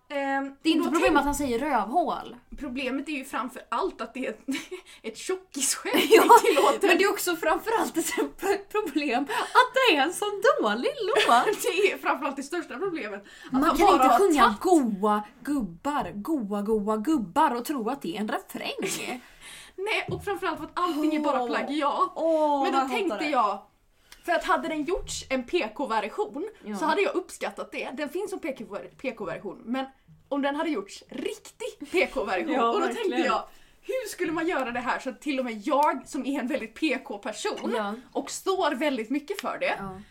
B: Ehm,
A: Det är inte
B: då
A: problem att han säger rövhål.
B: tänk- problemet är ju framför allt att det är ett, ett tjockisskämt
A: Ja,
B: vi tillåter.
A: Men det är också framförallt ett pro- problem att det är en sån dålig låt.
B: det är framförallt det största problemet. Att
A: Man
B: han
A: kan
B: bara
A: inte
B: har
A: sjunga
B: tatt-
A: goa gubbar, goa goa gubbar och tro att det är en refräng.
B: Nej, och framförallt för att allting är bara
A: Åh.
B: plagiat.
A: Åh, vad
B: Men då
A: jag hatar
B: tänkte
A: det.
B: jag, för att hade den gjorts en PK-version
A: Ja.
B: så hade jag uppskattat det. Den finns som PK-version, men om den hade gjorts riktig PK-version,
A: Ja,
B: och då
A: verkligen.
B: tänkte jag hur skulle man göra det här så att till och med jag som är en väldigt PK-person
A: Ja.
B: och står väldigt mycket för det
A: Ja.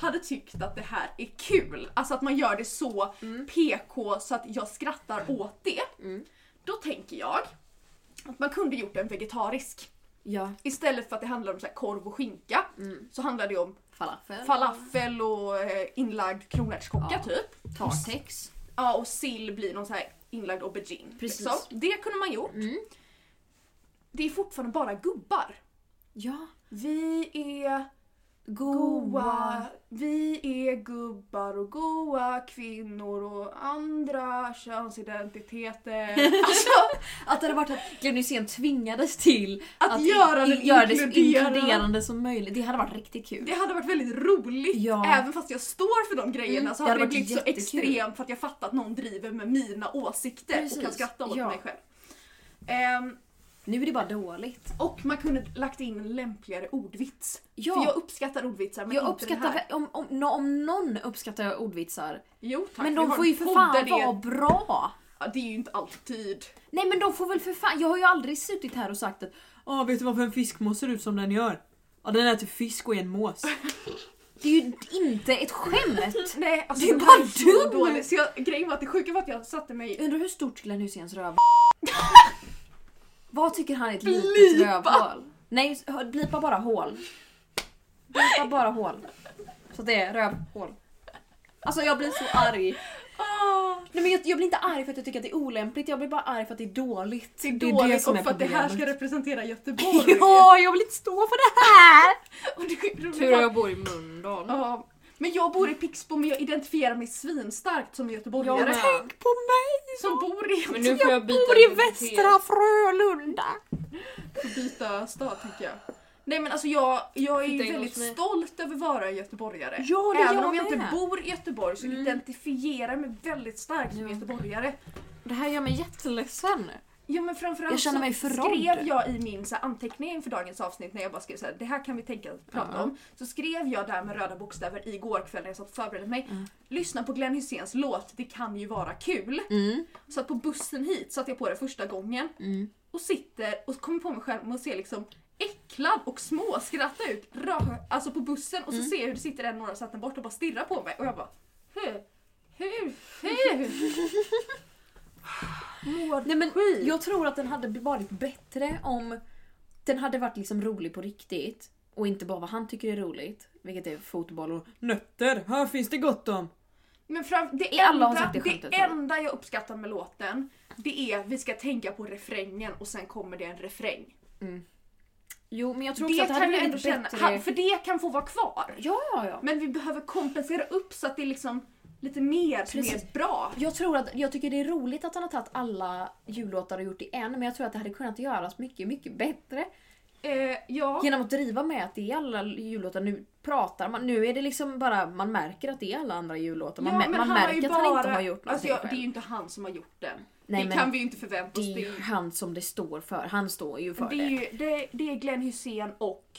B: hade tyckt att det här är kul, alltså att man gör det så PK så att jag skrattar åt det.
A: Mm.
B: Då tänker jag att man kunde gjort en vegetarisk.
A: Ja.
B: Istället för att det handlar om så här korv och skinka
A: Mm.
B: så handlar det om
A: Falafel.
B: falafel och eh, inlagd kronärtskocka
A: Ja.
B: typ.
A: Tartex.
B: Ja, och sill blir någon så här inlagd aubergine. liksom.
A: Precis.
B: Det kunde man gjort.
A: Mm.
B: Det är fortfarande bara gubbar.
A: Ja.
B: Vi är goa,
A: Goa.
B: vi är gubbar och goa kvinnor och andra könsidentiteter. Alltså
A: Att det hade varit att Glenn Hysén tvingades till
B: att, göra den
A: göra det så
B: inkluderande.
A: inkluderande som möjligt. Det hade varit riktigt kul.
B: Det hade varit väldigt roligt
A: Ja.
B: även fast jag står för de grejerna
A: Mm,
B: så
A: det
B: hade
A: hade
B: det,
A: varit
B: blivit
A: jättekul.
B: så extremt för att jag fattar att någon driver med mina åsikter och kan
A: Precis,
B: skratta åt
A: ja.
B: mig själv. Ehm,
A: Nu är det bara dåligt.
B: och man kunde lagt in en lämpligare ordvits.
A: Ja.
B: För jag uppskattar ordvitsar men
A: Jag
B: inte den här.
A: uppskattar, om, om, nå- om någon uppskattar ordvitsar.
B: Jo, tack,
A: men
B: vi
A: de
B: har
A: får
B: en
A: ju för
B: podd
A: fan
B: där det är-
A: vara bra.
B: Ja, det är ju inte alltid.
A: Nej men de får väl för fan, jag har ju aldrig suttit här och sagt att ah, vet du varför en fiskmås ser ut som den gör? Ja den äter fisk och är en mås. det är ju inte ett skämt!
B: Nej, alltså
A: Det är
B: den
A: bara
B: här så
A: dum!
B: dålig. Så jag, grejen var att det sjuka var att jag satte mig...
A: Undrar hur stort Glenn Hyséns röv Vad tycker han är ett litet
B: Blipa!
A: rövhål? Nej, s- hör- blipa bara hål. Blipa bara hål. Så att det är rövhål. Alltså jag blir så arg. Nej, men jag, jag blir inte arg för att jag tycker att det är olämpligt, jag blir bara arg för att det är dåligt.
B: Ah, Det är dåligt och för att det här ska
A: problemet.
B: representera Göteborg.
A: Ja, jag vill inte stå för det här!
B: Och det är roligt
C: Tur att
B: att-
C: jag bor i Mölndal.
B: Ja. Men jag bor i Pixbo men jag identifierar mig svinstarkt som göteborgare.
C: Jag med.
A: Tänk på mig!
B: Som bor i...
C: Men nu får jag byta
A: Jag bor i
C: identitet.
A: Västra Frölunda!
B: Får byta stad tänker jag. Nej men alltså jag, jag är
C: Titta
B: ju
C: in
B: väldigt
C: hos mig.
B: stolt över att vara göteborgare.
A: Ja, det är
B: Även
A: jag
B: om jag
A: med. Mm.
B: inte bor i Göteborg så identifierar jag mig väldigt starkt som
A: Ja.
B: göteborgare.
A: Det här gör mig jätteledsen.
B: Ja men framförallt
A: Jag känner mig
B: så
A: förrådd.
B: skrev jag i min så här, anteckning inför dagens avsnitt när jag bara skrev så här, det här kan vi tänka att prata
A: Ja.
B: om. Så skrev jag där med röda bokstäver igår kväll när jag satt och förberedde mig. Lyssna på Glenn Hyséns låt Det kan ju vara kul.
A: Mm.
B: Så att på bussen hit satte jag på det första gången
A: Mm.
B: och sitter och kommer på mig själv och ser liksom äcklad och småskratta ut rö- alltså på bussen och så
A: Mm.
B: ser jag hur det sitter en några sätten bort och bara stirrar på mig och jag bara hur, hur, hur? Mår
A: Nej, men
B: skit.
A: jag tror att den hade varit bättre om den hade varit liksom rolig på riktigt och inte bara vad han tycker är roligt, vilket är fotboll och nötter. Här finns det gott om.
B: Men fram, det,
A: I alla har
B: enda,
A: sagt det
B: det,
A: skämtet, tror jag.
B: enda jag uppskattar med låten det är att vi ska tänka på refrängen och sen kommer det en refräng.
A: Jo, men jag tror också
B: Det
A: att det hade
B: kan jag ändå
A: blivit
B: känna,
A: bättre.
B: han, för det kan få vara kvar.
A: Ja, ja, ja.
B: Men vi behöver kompensera upp så att det är liksom lite mer som
A: Precis.
B: är bra.
A: Jag tror att, jag tycker det är roligt att han har tagit alla jullåtar och gjort det en, men jag tror att det hade kunnat göras mycket, mycket bättre.
B: Eh, ja.
A: Genom att driva med att det är alla jullåtar, nu pratar man, nu är det liksom bara, man märker att det är alla andra jullåtar. Man,
B: ja,
A: mär-
B: men
A: man
B: han har ju
A: märker att han inte har gjort någonting
B: alltså jag, Det är
A: själv.
B: ju inte han som har gjort den.
A: Nej,
B: det
A: men
B: kan vi ju inte förvänta
A: Det
B: oss.
A: är ju han som det står för, han står ju för
B: det, är ju, det, det är Glenn Hussein och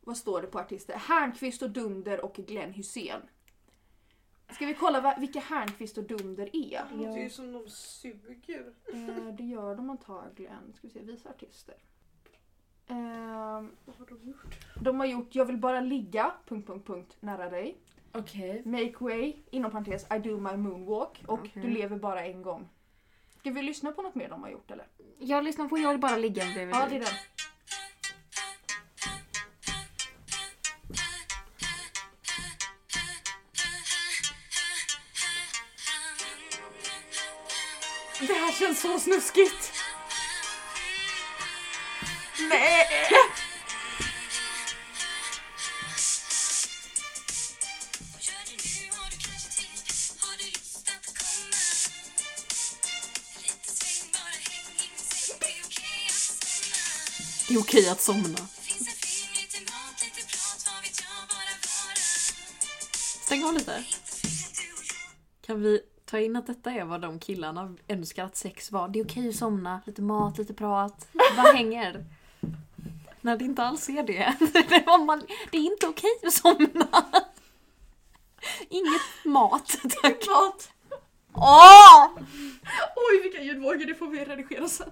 B: vad står det på artister? Härnqvist och Dunder och Glenn Hussein. Ska vi kolla va, vilka Härnqvist och Dunder är?
C: Det låter ju som de suger.
B: Eh, det gör de antagligen. Ska vi se, visa artister. Ehm,
C: Vad har de gjort?
B: de har gjort Jag vill bara ligga... Punkt, punkt, punkt, nära dig.
A: Okej.
B: Make way, inom parentes, I do my moonwalk och Du lever bara en gång. Ska vi lyssna på något mer de har gjort eller?
A: Jag lyssnar på Jag vill bara ligga bredvid
B: Ja,
A: dig.
B: det är den. Det här känns så snuskigt! Nej!
A: Det är okej att somna. Stäng av lite. Kan vi ta in att detta är vad de killarna önskar att sex var? Det är okej att somna, lite mat, lite prat. Vad hänger? När det inte alls är det. Det var man- Det är inte okej att somna. Inget mat, tack.
B: Mat.
A: Åh!
B: Oj vilka ljudvågor, det får vi redigera sen.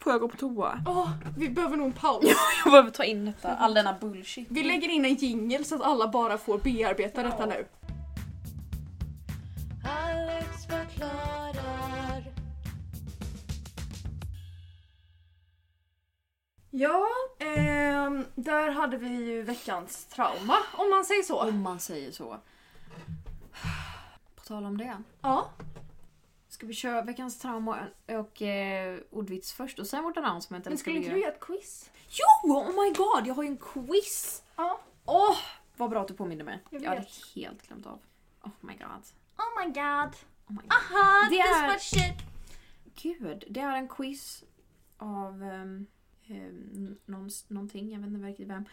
A: på jag går på toa.
B: Åh, vi behöver nog en paus.
A: Jag behöver ta in detta, all denna bullshit.
B: Vi lägger in en jingel så att alla bara får bearbeta detta nu.
D: Alex förklarar.
B: Ja, ehm, där hade vi ju veckans trauma om man säger så.
A: Om man säger så. På tal om det.
B: Ja.
A: Ska vi köra veckans trauma och eh, ordvits först och sen vårt announcement?
B: Men
A: eller ska
B: skulle
A: vi
B: inte du göra ett quiz?
A: Jo! Oh my god, jag har ju en quiz!
B: Ja.
A: Åh! vad bra att du påminner mig.
B: Jag
A: Jag,
B: vet.
A: hade helt glömt av. Oh my god.
B: Oh my god.
A: Oh my god.
B: Aha,
A: Det är-
B: shit.
A: Gud, det är en quiz av um, um, någons, någonting, jag vet inte riktigt vem.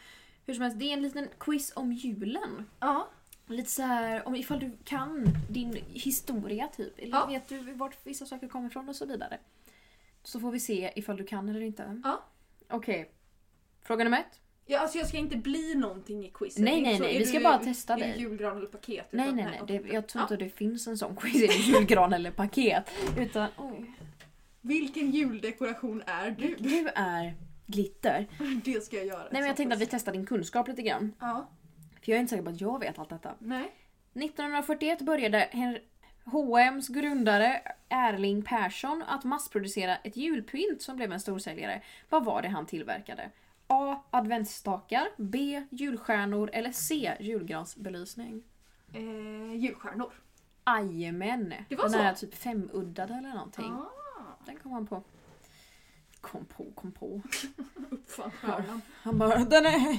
A: Hur som helst, det är en liten quiz om julen.
B: Ja.
A: Lite så här, om ifall du kan din historia typ. Eller
B: Ja.
A: vet du vart vissa saker kommer ifrån och så vidare. Så får vi se ifall du kan eller inte.
B: Ja.
A: Okej. Fråga nummer ett.
B: ja. Alltså jag ska inte bli någonting i quizet.
A: Nej,
B: Inte
A: nej,
B: så,
A: nej,
B: är
A: vi
B: du-
A: ska bara testa
B: är du
A: dig.
B: julgran eller paket?
A: Nej,
B: utan-
A: nej, nej.
B: okej.
A: Det, jag tror
B: Ja.
A: inte det finns en sån quiz i julgran eller paket. Utan, oj.
B: Vilken juldekoration är du?
A: Du är glitter.
B: Det ska jag göra.
A: Nej, men jag tänkte att vi testar din kunskap lite grann.
B: Ja.
A: För jag är inte säker på att jag vet allt detta.
B: Nej.
A: 1941 började Hen- H&M's grundare Erling Persson att massproducera ett julpynt som blev en storsäljare. Vad var det han tillverkade? A. Adventsstakar. B. Julstjärnor. Eller C. Julgransbelysning.
B: Eh, julstjärnor.
A: Ajemän!
B: Det var
A: Den här
B: så?
A: typ femuddade eller någonting.
B: Ah,
A: Den kom han på. Kom på, kom på.
B: uppfann stjärnan.
A: Han bara, den är...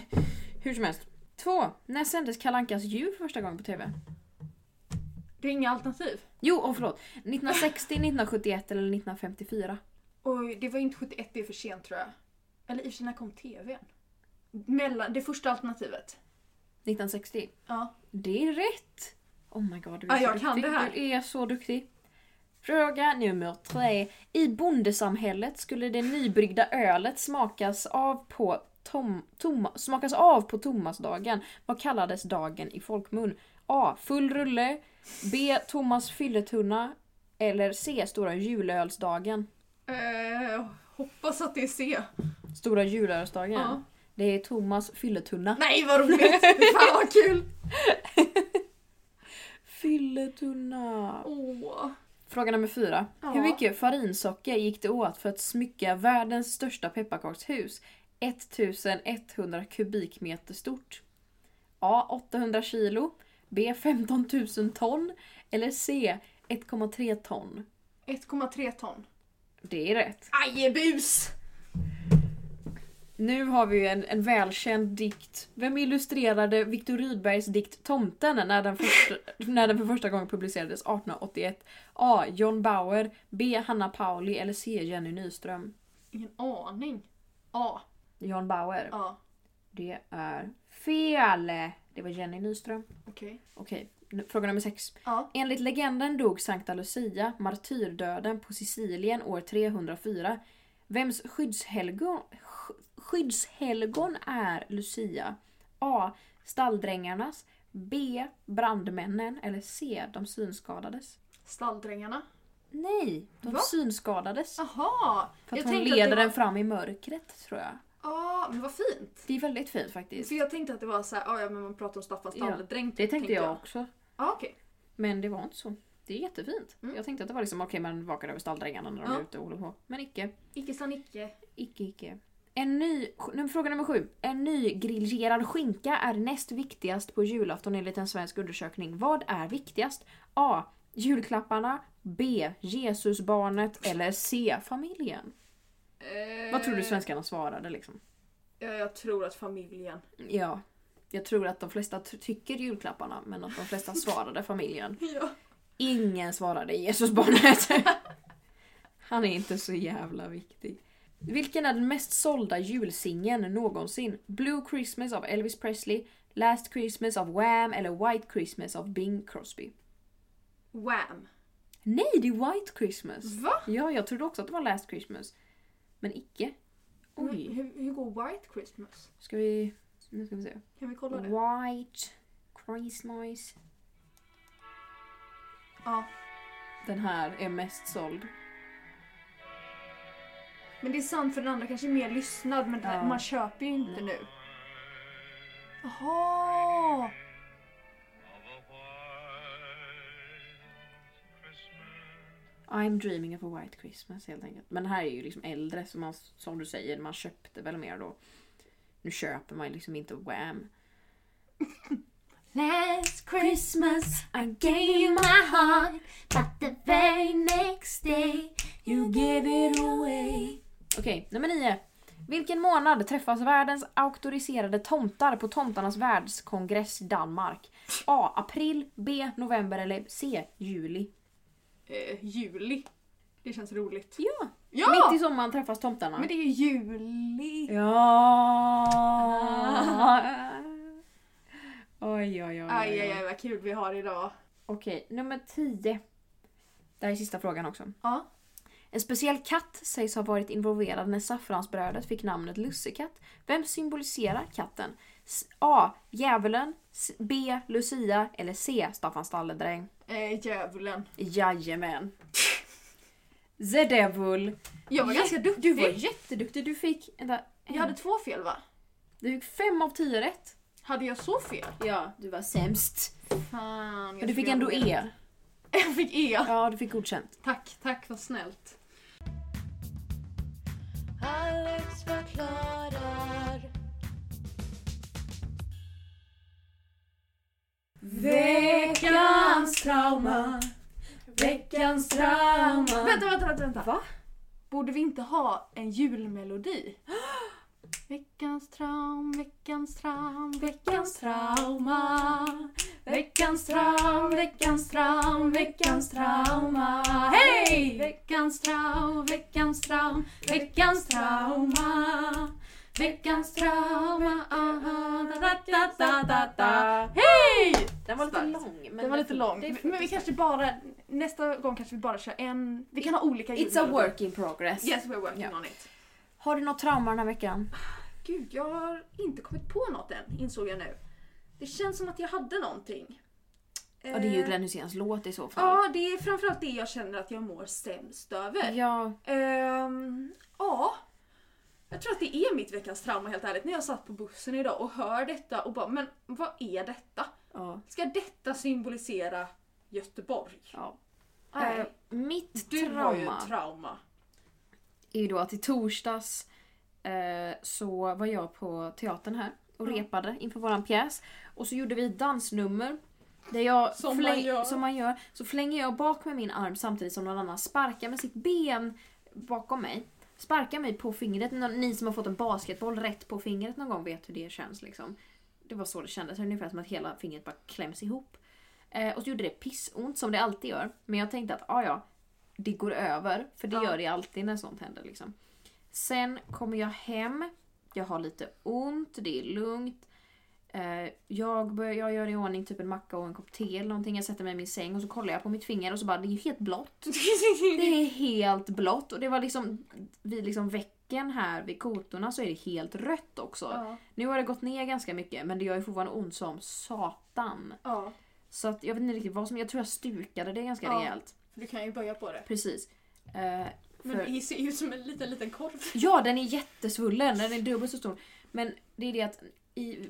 A: Hur som helst. Två. När sändes Kalankas jul för första gången på TV?
B: Det är inga alternativ.
A: Jo, oh, förlåt. 1960, 1971 eller 1954?
B: Oj, det var inte 71, det är för sent tror jag. Eller i och för sig, när kom tvn? Mellan, det första alternativet.
A: 1960.
B: Ja.
A: Det är rätt! Oh my god, du är
B: Ja,
A: så
B: jag
A: duktig.
B: kan det här.
A: Du är så duktig. Fråga nummer tre. I bondesamhället skulle det nybryggda ölet smakas av på tom, tom, smakas av på Tomasdagen. Vad kallades dagen i folkmun? A. Full rulle. B. Thomas fylletunna. Eller C. Stora julölsdagen.
B: Eh, hoppas att det är C.
A: Stora julölsdagen.
B: Ja.
A: Det är Thomas fylletunna.
B: Nej vad roligt! Fan vad kul!
A: Fylletunna.
B: Åh.
A: Fråga nummer fyra.
B: Ja.
A: Hur mycket farinsocker gick det åt för att smycka världens största pepparkakshus? 1100 kubikmeter stort. A. 800 kilo. B. 15 000 ton. Eller C. 1,3 ton.
B: 1,3 ton.
A: Det är rätt.
B: Ajebus!
A: Nu har vi ju en, en välkänd dikt. Vem illustrerade Viktor Rydbergs dikt Tomten när den, första, när den för första gången publicerades 1881? A. John Bauer. B. Hanna Pauli. Eller C. Jenny Nyström.
B: Ingen aning. Ja.
A: John Bauer.
B: Ja.
A: Det är fel! Det var Jenny Nyström.
B: Okej.
A: Okej, nu- fråga nummer sex.
B: Ja.
A: Enligt legenden dog Sankta Lucia, martyrdöden, på Sicilien år 304. Vems skyddshelgon, sk- skyddshelgon är Lucia? A. Stalldrängarnas. B. Brandmännen. Eller C. De synskadades.
B: Stalldrängarna.
A: Nej! De
B: Va?
A: synskadades.
B: Jaha!
A: För att
B: jag
A: hon
B: tänkte
A: leder
B: att det
A: den
B: var...
A: fram i mörkret tror jag.
B: Ja, men vad fint.
A: Det är väldigt fint faktiskt.
B: För jag tänkte att det var så här, "Ah, ja men man pratar om Staffan stalldräng. typ,
A: Det tänkte jag också.
B: Ja okej.
A: Men det var inte så. Det är jättefint.
B: Mm.
A: Jag tänkte att det var liksom okej man vakar över stalldrängarna när de
B: Ja.
A: är ute och håller på. Men icke.
B: Icke sa Nicke.
A: Icke, icke. En ny, nu- fråga nummer sju. En ny grillerad skinka är näst viktigast på julafton enligt en svensk undersökning. Vad är viktigast? A. Julklapparna. B. Jesusbarnet. Eller C. Familjen.
B: Eh,
A: Vad tror du svenskarna svarade liksom?
B: Ja, jag tror att familjen.
A: Ja. Jag tror att de flesta ty- tycker julklapparna men att de flesta svarade familjen.
B: Ja.
A: Ingen svarade Jesusbarnet. Han är inte så jävla viktig. Vilken är den mest sålda julsingeln någonsin? Blue Christmas av Elvis Presley, Last Christmas av Wham eller White Christmas av Bing Crosby?
B: Wham!
A: Nej, det är White Christmas!
B: Va?
A: Ja, jag trodde också att det var Last Christmas. Men icke.
B: Men
A: Oj,
B: Hur, hur går White Christmas?
A: ska vi... Nu ska vi se.
B: Kan vi kolla det?
A: White Christmas.
B: Ja.
A: Den här är mest såld.
B: Men det är sant för den andra kanske är mer lyssnad men det här,
A: Ja.
B: man köper ju inte nu. Jaha!
A: I'm dreaming of a white Christmas helt enkelt. Men den här är ju liksom äldre så man, som du säger, man köpte väl mer då. Nu köper man ju liksom inte Wham.
D: Last Christmas I gave you my heart But the very next day you gave it away
A: Okej, nummer nio. Vilken månad träffas världens auktoriserade tomtar på Tomtarnas världskongress Danmark? A. April, B. November eller C. Juli.
B: Eh, juli. Det känns roligt.
A: Ja!
B: Ja!
A: Mitt i sommaren träffas tomtarna.
B: Men det är ju juli.
A: Ja! Oj, oj, oj. oj,
B: Aj, aj,
A: oj.
B: aj vad kul vi har idag.
A: Okej, nummer 10. Det här är sista frågan också.
B: Ja.
A: En speciell katt sägs ha varit involverad när saffransbrödet fick namnet lussekatt. Vem symboliserar katten? S- A. Djävulen. S- B. Lucia. Eller C. Staffan Stalledräng.
B: Eh, djävulen.
A: Jajamän. The devil.
B: Jag var ganska duktig.
A: Du var jätteduktig. Du fick... Vänta, en,
B: Jag hade två fel va?
A: Du fick fem av tio rätt.
B: Hade jag så fel?
A: Ja, du var sämst.
B: Fan.
A: Men
B: jag
A: du fick
B: skulle
A: ändå
B: göra det.
A: E.
B: Jag fick E.
A: Ja, du fick godkänt.
B: Tack, tack vad snällt.
D: Alex förklarar
B: Veckans trauma.
D: Veckans trauma
B: Vänta, vänta, vänta. vänta.
A: Va?
B: Borde vi inte ha en julmelodi? veckans traum, veckans traum, veckans trauma. Veckans traum, veckans traum, veckans trauma. Hej! Veckans traum, veckans traum, veckans trauma. Veckans trauma, aha, da, da, da, da, da, da. Hej!
A: Ah, Den var lite
B: Starkt.
A: lång. Men
B: Den var lite lång.
A: Det är
B: Men vi kanske bara, nästa gång kanske vi bara kör en. Vi kan ha olika
A: It's a
B: julmelodier.
A: work in progress.
B: Yes, we're working
A: Ja.
B: on it.
A: Har du något trauma den här veckan?
B: Gud, jag har inte kommit på något än, insåg jag nu. Det känns som att jag hade någonting. Eh,
A: Ja, det är ju Glenn Hyséns låt i så fall.
B: Ja, det är framförallt det jag känner att jag mår sämst över.
A: Ja,
B: Ehm, ja. Jag tror att det är mitt veckans trauma helt ärligt. När jag satt på bussen idag och hör detta och bara, men vad är detta?
A: ja,
B: Ska detta symbolisera Göteborg?
A: ja.
B: Nej,
A: Eh, mitt
B: du har ju
A: trauma
B: ett trauma.
A: är ju då att i torsdags eh, så var jag på teatern här och repade inför våran pjäs. Och så gjorde vi ett dansnummer. Där jag
C: Som man
A: fläng-
C: gör.
A: som man gör. Så flänger jag bak med min arm samtidigt som någon annan sparkar med sitt ben bakom mig. Sparkar mig på fingret. Nå- Ni som har fått en basketboll rätt på fingret någon gång vet hur det känns liksom. Det var så det kändes. Ungefär som att hela fingret bara kläms ihop. Eh, och så gjorde det pissont som det alltid gör. Men jag tänkte att ah, ja, det går över. För det
B: Ja.
A: gör det alltid när sånt händer. Liksom. Sen kommer jag hem. Jag har lite ont. Det är lugnt. Eh, jag, bör, jag gör i ordning typ en macka och en kopp te eller någonting. Jag sätter mig i min säng och så kollar jag på mitt finger och så bara det är ju helt blått. Det är
B: Mm.
A: helt blått och det var liksom vid liksom väcken här vid kotorna så är det helt rött också.
B: Ja.
A: Nu har det gått ner ganska mycket men det gör ju fortfarande ont som satan.
B: ja.
A: Så att jag vet inte riktigt vad som, jag tror jag stukade det ganska
B: Ja.
A: rejält.
B: För du kan ju böja på det.
A: Precis. Eh,
C: Men
A: för-
C: det ser ju ut som en liten, liten korv.
A: Ja, den är jättesvullen. Den är dubbelt så stor. Men det är det att i,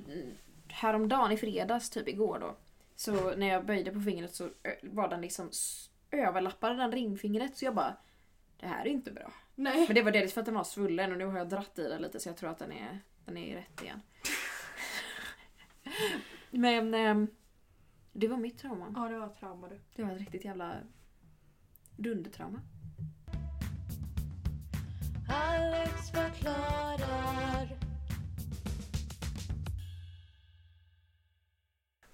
A: häromdagen, i fredags, typ igår då. Så när jag böjde på fingret så ö- var den liksom s- överlappade den ringfingret. Så jag bara, det här är inte bra.
B: Nej.
A: Men det var delvis för att den var svullen och nu har jag dratt i den lite så jag tror att den är, den är rätt igen. Men ehm, det var mitt trauma.
B: Ja, det var ett trauma du.
A: Det var ett riktigt jävla dundertrauma.
D: Alex förklarar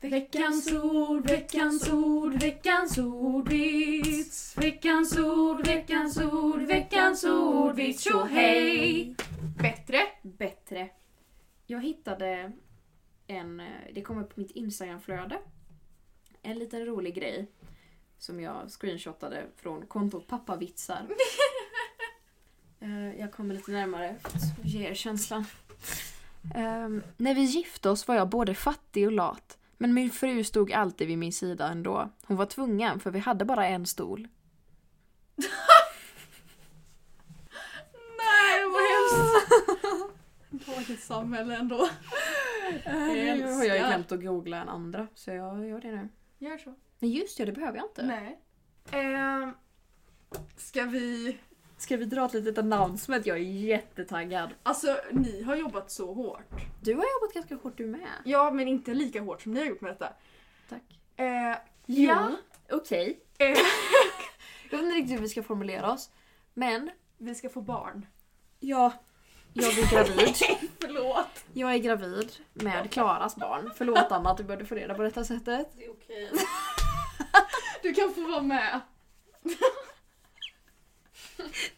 B: Veckans ord, veckans ord, veckans ordvits. Veckans ord, veckans ord, veckans ordvits. Tjo hej! Bättre?
A: bättre. Jag hittade en, eh, det kom upp på mitt Instagramflöde, en liten rolig grej som jag screenshotade från kontot pappavitsar. Eh, jag kommer lite närmare för att ge er känslan. Ehm, när vi gifte oss var jag både fattig och lat. Men min fru stod alltid vid min sida ändå. Hon var tvungen för vi hade bara en stol.
B: Nej vilket samhälle ändå.
A: Jag
B: älskar.
A: har ju glömt att googla en andra så jag gör det nu.
B: Gör så.
A: Men just det, det behöver jag inte.
B: Nej. Eh, ska vi...
A: Ska vi dra ett litet announcement? Jag är jättetaggad.
B: Alltså ni har jobbat så hårt.
A: Du har jobbat ganska hårt du med.
B: Ja, men inte lika hårt som ni har gjort med detta.
A: Tack.
B: Eh,
A: Ja. Okej.
B: Eh,
A: Jag vet inte riktigt hur vi ska formulera oss. Men,
B: vi ska få barn.
A: ja. Jag är gravid.
B: Förlåt.
A: Jag är gravid med Klaras barn. Förlåt Anna att du började få reda på detta sättet.
C: Det är okej.
B: Du kan få vara med.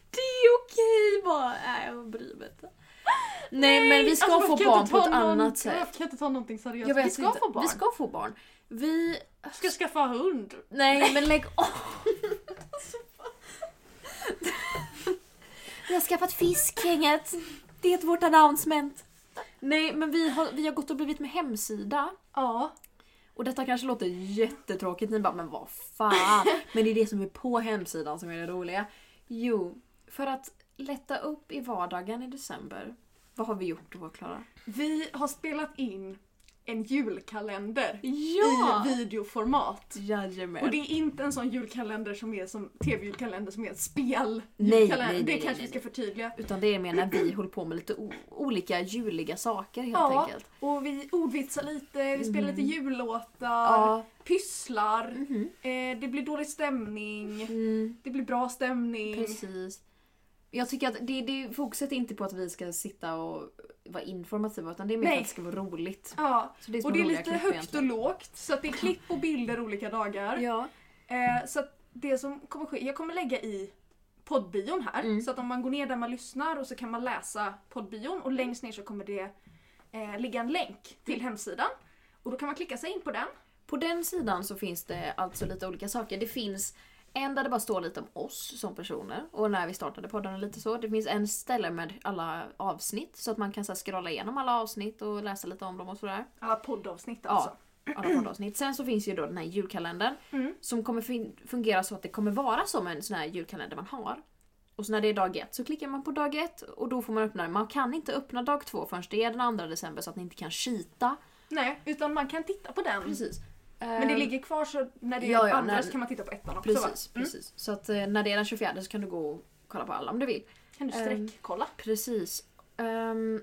A: Det är okej bara. Nej, jag bryr mig inte. Nej, men vi ska
B: Alltså,
A: få
B: varför kan jag
A: barn
B: inte
A: på
B: ta
A: ett
B: någon-
A: annat sätt.
B: varför kan jag inte ta någonting seriöst?
A: Jag vet
B: vi ska
A: inte.
B: få barn.
A: Vi ska få barn. Vi...
B: Ska skaffa hund.
A: Nej, men lägg av! Vi har skaffat fisk, gänget. Det är vårt announcement. Nej, men vi har, vi har gått och blivit med hemsida.
B: Ja.
A: Och detta kanske låter jättetråkigt, ni bara men vad fan. Men det är det som är på hemsidan som är det roliga. Jo, för att lätta upp i vardagen i december. Vad har vi gjort då Klara?
B: Vi har spelat in en julkalender i
A: I-
B: videoformat.
A: vi- Jajamän!
B: Och det är inte en sån julkalender som är som tv-julkalender som är ett spel.
A: Nej,
B: Julkalender.
A: nej, nej,
B: det
A: nej, nej,
B: kanske vi ska förtydliga.
A: Utan det är mer när vi håller på med lite o- olika juliga saker helt
B: Ja.
A: enkelt.
B: Och vi ordvitsar lite, vi spelar lite jullåtar,
A: Mm. Ja.
B: pysslar,
A: Mhm.
B: eh, det blir dålig stämning,
A: Mm,
B: det blir bra stämning.
A: precis. Jag tycker att det, det fokuset är inte på att vi ska sitta och vara informativa utan det är mer
B: Nej.
A: för att det ska vara roligt.
B: Ja,
A: Så det är små
B: och det är
A: roliga
B: lite
A: klipp
B: högt
A: egentligen.
B: och lågt så att det är klipp och bilder olika dagar.
A: Ja.
B: Eh, så att det som kommer ske, jag kommer lägga i poddbion här.
A: Mm.
B: Så att om man går ner där man lyssnar och så kan man läsa poddbion och längst ner så kommer det eh, ligga en länk till
A: Mm.
B: hemsidan. Och då kan man klicka sig in på den.
A: På den sidan så finns det alltså lite olika saker. Det finns en där det bara står lite om oss som personer och när vi startade podden och lite så. Det finns en ställe med alla avsnitt så att man kan så här, scrolla igenom alla avsnitt och läsa lite om dem och sådär.
B: Ja, poddavsnitt alltså.
A: Ja, alla poddavsnitt. Sen så finns ju då den här julkalendern
B: Mm.
A: som kommer fin- fungera så att det kommer vara som en sån här julkalender man har. Och så när det är dag ett så klickar man på dag ett och då får man öppna den. Man kan inte öppna dag två förrän det är den 2 december så att ni inte kan cheata. Eh,
B: Nej, utan man kan titta på den.
A: Precis.
B: Men det ligger kvar så när det är
A: Ja, ja,
B: andra
A: när-
B: så kan man titta på ettan också. va?
A: Precis, precis. Så att eh, när det är den 24 så kan du gå och kolla på alla om du vill.
B: Kan
A: Eh,
B: du sträckkolla?
A: Precis. Ehm,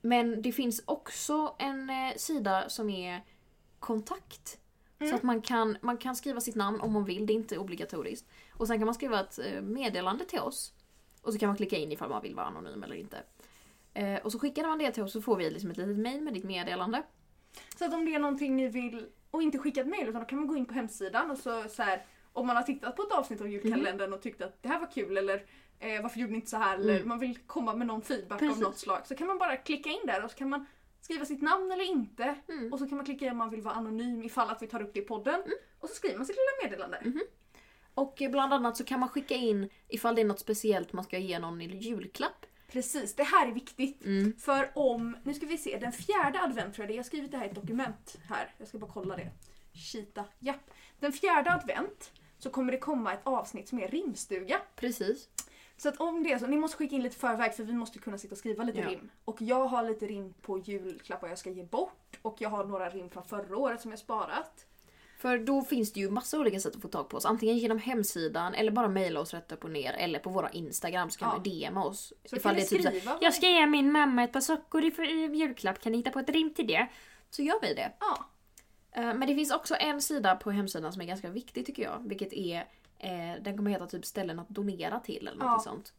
A: men det finns också en eh, sida som är kontakt. Så att man kan, man kan skriva sitt namn om man vill, det är inte obligatoriskt. Och sen kan man skriva ett eh, meddelande till oss. Och så kan man klicka in ifall man vill vara anonym eller inte. Eh, och så skickar man det till oss så får vi liksom ett litet mail med ditt meddelande.
B: Så att om det är någonting ni vill, och inte skicka ett mejl utan då kan man gå in på hemsidan och så, så här, om man har tittat på ett avsnitt av julkalendern och tyckt att det här var kul eller eh, varför gjorde ni inte så här eller
A: Mm.
B: man vill komma med någon feedback
A: Precis.
B: av något slag så kan man bara klicka in där och så kan man skriva sitt namn eller inte
A: Mm.
B: och så kan man klicka in om man vill vara anonym ifall att vi tar upp det i podden och så skriver man sitt lilla meddelande.
A: Och eh, bland annat så kan man skicka in ifall det är något speciellt man ska ge någon i julklapp.
B: Precis, det här är viktigt.
A: Mm.
B: För om, nu ska vi se, den fjärde advent tror jag det är. Jag har skrivit det här i ett dokument här. Jag ska bara kolla det. Kita, japp. Den fjärde advent så kommer det komma ett avsnitt som är rimstuga.
A: Precis.
B: Så att om det är så, ni måste skicka in lite förväg för vi måste kunna sitta och skriva lite
A: Ja.
B: rim. Och jag har lite rim på julklappar jag ska ge bort och jag har några rim från förra året som jag sparat.
A: För då finns det ju massa olika sätt att få tag på oss. Antingen genom hemsidan eller bara mejla oss rätt upp och ner. Eller på våra Instagram så kan
B: Ja.
A: man DMa oss.
B: Så kan ni
A: typ så här,
B: skriva.
D: Jag ska ge min mamma ett par sockor i för- i julklapp. Kan ni hitta på ett rim till det?
A: så gör vi det.
B: Ja.
A: Eh, Men det finns också en sida på hemsidan som är ganska viktig tycker jag. Vilket är, eh, den kommer heta typ ställen att donera till eller något
B: Ja.
A: sånt.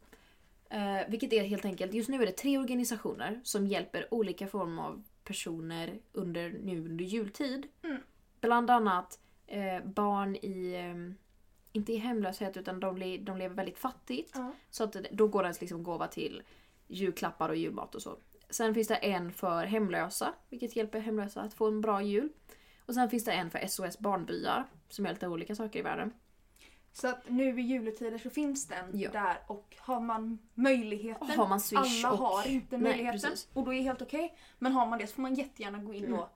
A: Eh, vilket är helt enkelt, just nu är det tre organisationer som hjälper olika former av personer under, nu under jultid.
B: Mm.
A: Bland annat eh, barn i, eh, inte i hemlöshet utan de, le- de lever väldigt fattigt.
B: Ja.
A: Så att det- då går ens liksom gåva till julklappar och julmat och så. Sen finns det en för hemlösa, vilket hjälper hemlösa att få en bra jul. Och sen finns det en för SOS Barnbyar, som gör lite olika saker i världen.
B: Så att nu i juletider så finns den
A: Ja.
B: där och har man möjligheten
A: Har man Swish
B: Alla
A: och...
B: har inte
A: Nej,
B: möjligheten
A: precis. Mm.
B: och då är det helt okej. Men har man det så får man jättegärna gå in och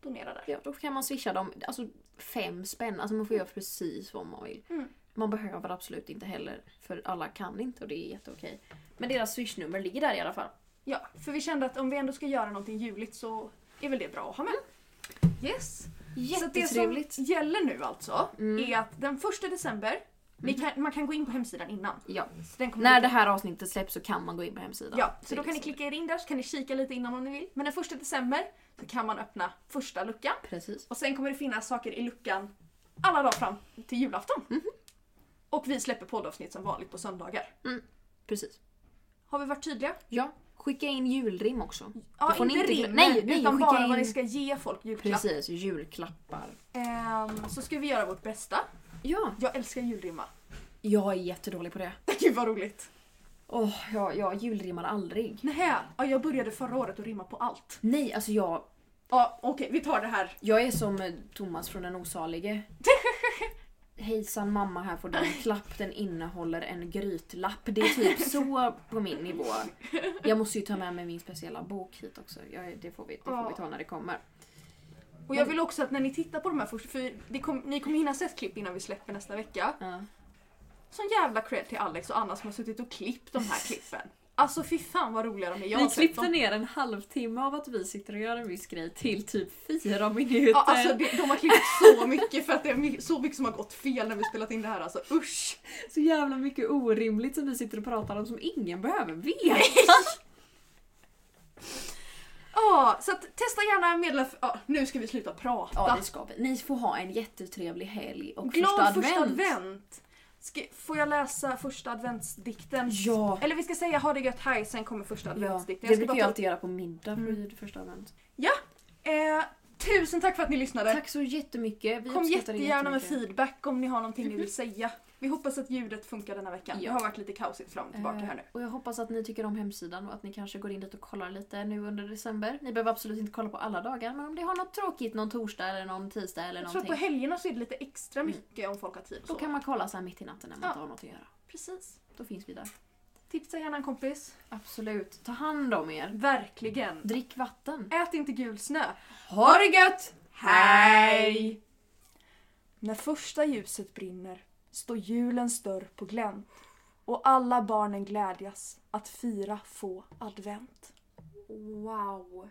B: donera där.
A: Ja, då kan man swisha dem, alltså fem spänn. Alltså man får göra precis vad man vill.
B: Mm.
A: Man behöver absolut inte heller, för alla kan inte och det är jätteokej. Men deras swishnummer ligger där i alla fall.
B: Ja, för vi kände att om vi ändå ska göra någonting juligt så är väl det bra att ha med. Yes! Så att det som
A: Jättetrevligt.
B: gäller nu alltså
A: Mm.
B: är att den första december, ni kan, man kan gå in på hemsidan innan.
A: Ja.
B: Så den kommer
A: När
B: ligga-
A: det här avsnittet släpps så kan man gå in på hemsidan.
B: Mm. Ja, så
A: Det
B: då
A: är
B: kan ni
A: liksom-
B: klicka er in där så kan ni kika lite innan om ni vill. Men den första december så kan man öppna första luckan
A: Precis.
B: och sen kommer det finnas saker i luckan alla dagar fram till julafton.
A: Mhm.
B: Och vi släpper poddavsnitt som vanligt på söndagar.
A: Precis.
B: Har vi varit tydliga?
A: Ja. Skicka in julrim också.
B: Ja,
A: Då får ni
B: inte
A: inte glö-
B: rimmer,
A: nej, nej,
B: utan
A: skicka
B: bara vad
A: in-
B: ni ska ge folk julklapp.
A: Precis, julklappar.
B: Ehm, så ska vi göra vårt bästa.
A: Ja.
B: Jag älskar julrimma.
A: Jag är jättedålig på det.
B: Gud vad roligt!
A: Åh, jag, jag julrimmar aldrig.
B: Nähä, ja, jag började förra året att rimma på allt.
A: Nej, alltså jag,
B: Ja, Okej, vi tar det här.
A: jag är som eh, Thomas från den osalige. Hejsan mamma, här får du en klapp. Den innehåller en grytlapp. Det är typ så på min nivå. Jag måste ju ta med mig min speciella bok hit också. Jag, det får vi, det får vi ta när det kommer.
B: Och
A: Mm.
B: jag vill också att när ni tittar på de här först, för det kom, ni kommer hinna se ett klipp innan vi släpper nästa vecka.
A: Ja.
B: Sån jävla cred till Alex och Anna som har suttit och klippt de här klippen. Alltså fy fan vad roliga de är. Jag har
F: Vi
B: sett
F: klippte
B: dem.
F: ner en halvtimme av att vi sitter och gör en viss grej till typ fyra minuter.
B: Ja, alltså det, de har klippt så mycket för att det är my- så mycket som har gått fel när vi spelat in det här alltså. Usch!
F: Så jävla mycket orimligt som vi sitter och pratar om som ingen behöver veta.
B: Ja, så att testa gärna medla... Ja, nu ska vi sluta prata.
A: Ja, det ska vi. Ni får ha en jättetrevlig helg och
B: Glad
A: första advent.
B: Ska, får jag läsa första adventsdikten?
A: Ja.
B: Eller vi ska säga ha det gött här, sen kommer första
A: Ja, det
B: adventsdikten. Jag ska
A: brukar
B: bara
A: jag
B: ta- Mm.
A: alltid göra på middag vid första advent.
B: eh, tusen tack för att ni lyssnade.
A: Tack så jättemycket. Vi
B: Kom
A: uppskattar det
B: jättegärna med
A: jättemycket. Mhm.
B: feedback om ni har någonting ni vill säga. Vi hoppas att ljudet funkar denna veckan.
A: Ja.
B: Det har varit lite kaosigt fram och tillbaka här nu.
A: Eh, Och jag hoppas att ni tycker om hemsidan och att ni kanske går in dit och kollar lite nu under december. Ni behöver absolut inte kolla på alla dagar men om ni har något tråkigt någon torsdag eller någon tisdag eller
B: Jag tror att på
A: någonting. Mm.
B: helgerna så är det lite extra mycket om folk har tid och
A: Då
B: så.
A: kan man kolla så här mitt i natten när man
B: Ja.
A: inte har något att göra.
B: Precis.
A: Då finns vi där.
B: Tipsa gärna en kompis.
A: Absolut. Ta hand om er.
B: Verkligen.
A: Drick vatten.
B: Ät inte gul snö.
A: Ha det gött!
B: Hej! När första ljuset brinner står julens dörr på glänt och alla barnen glädjas att fira få advent.
A: Wow.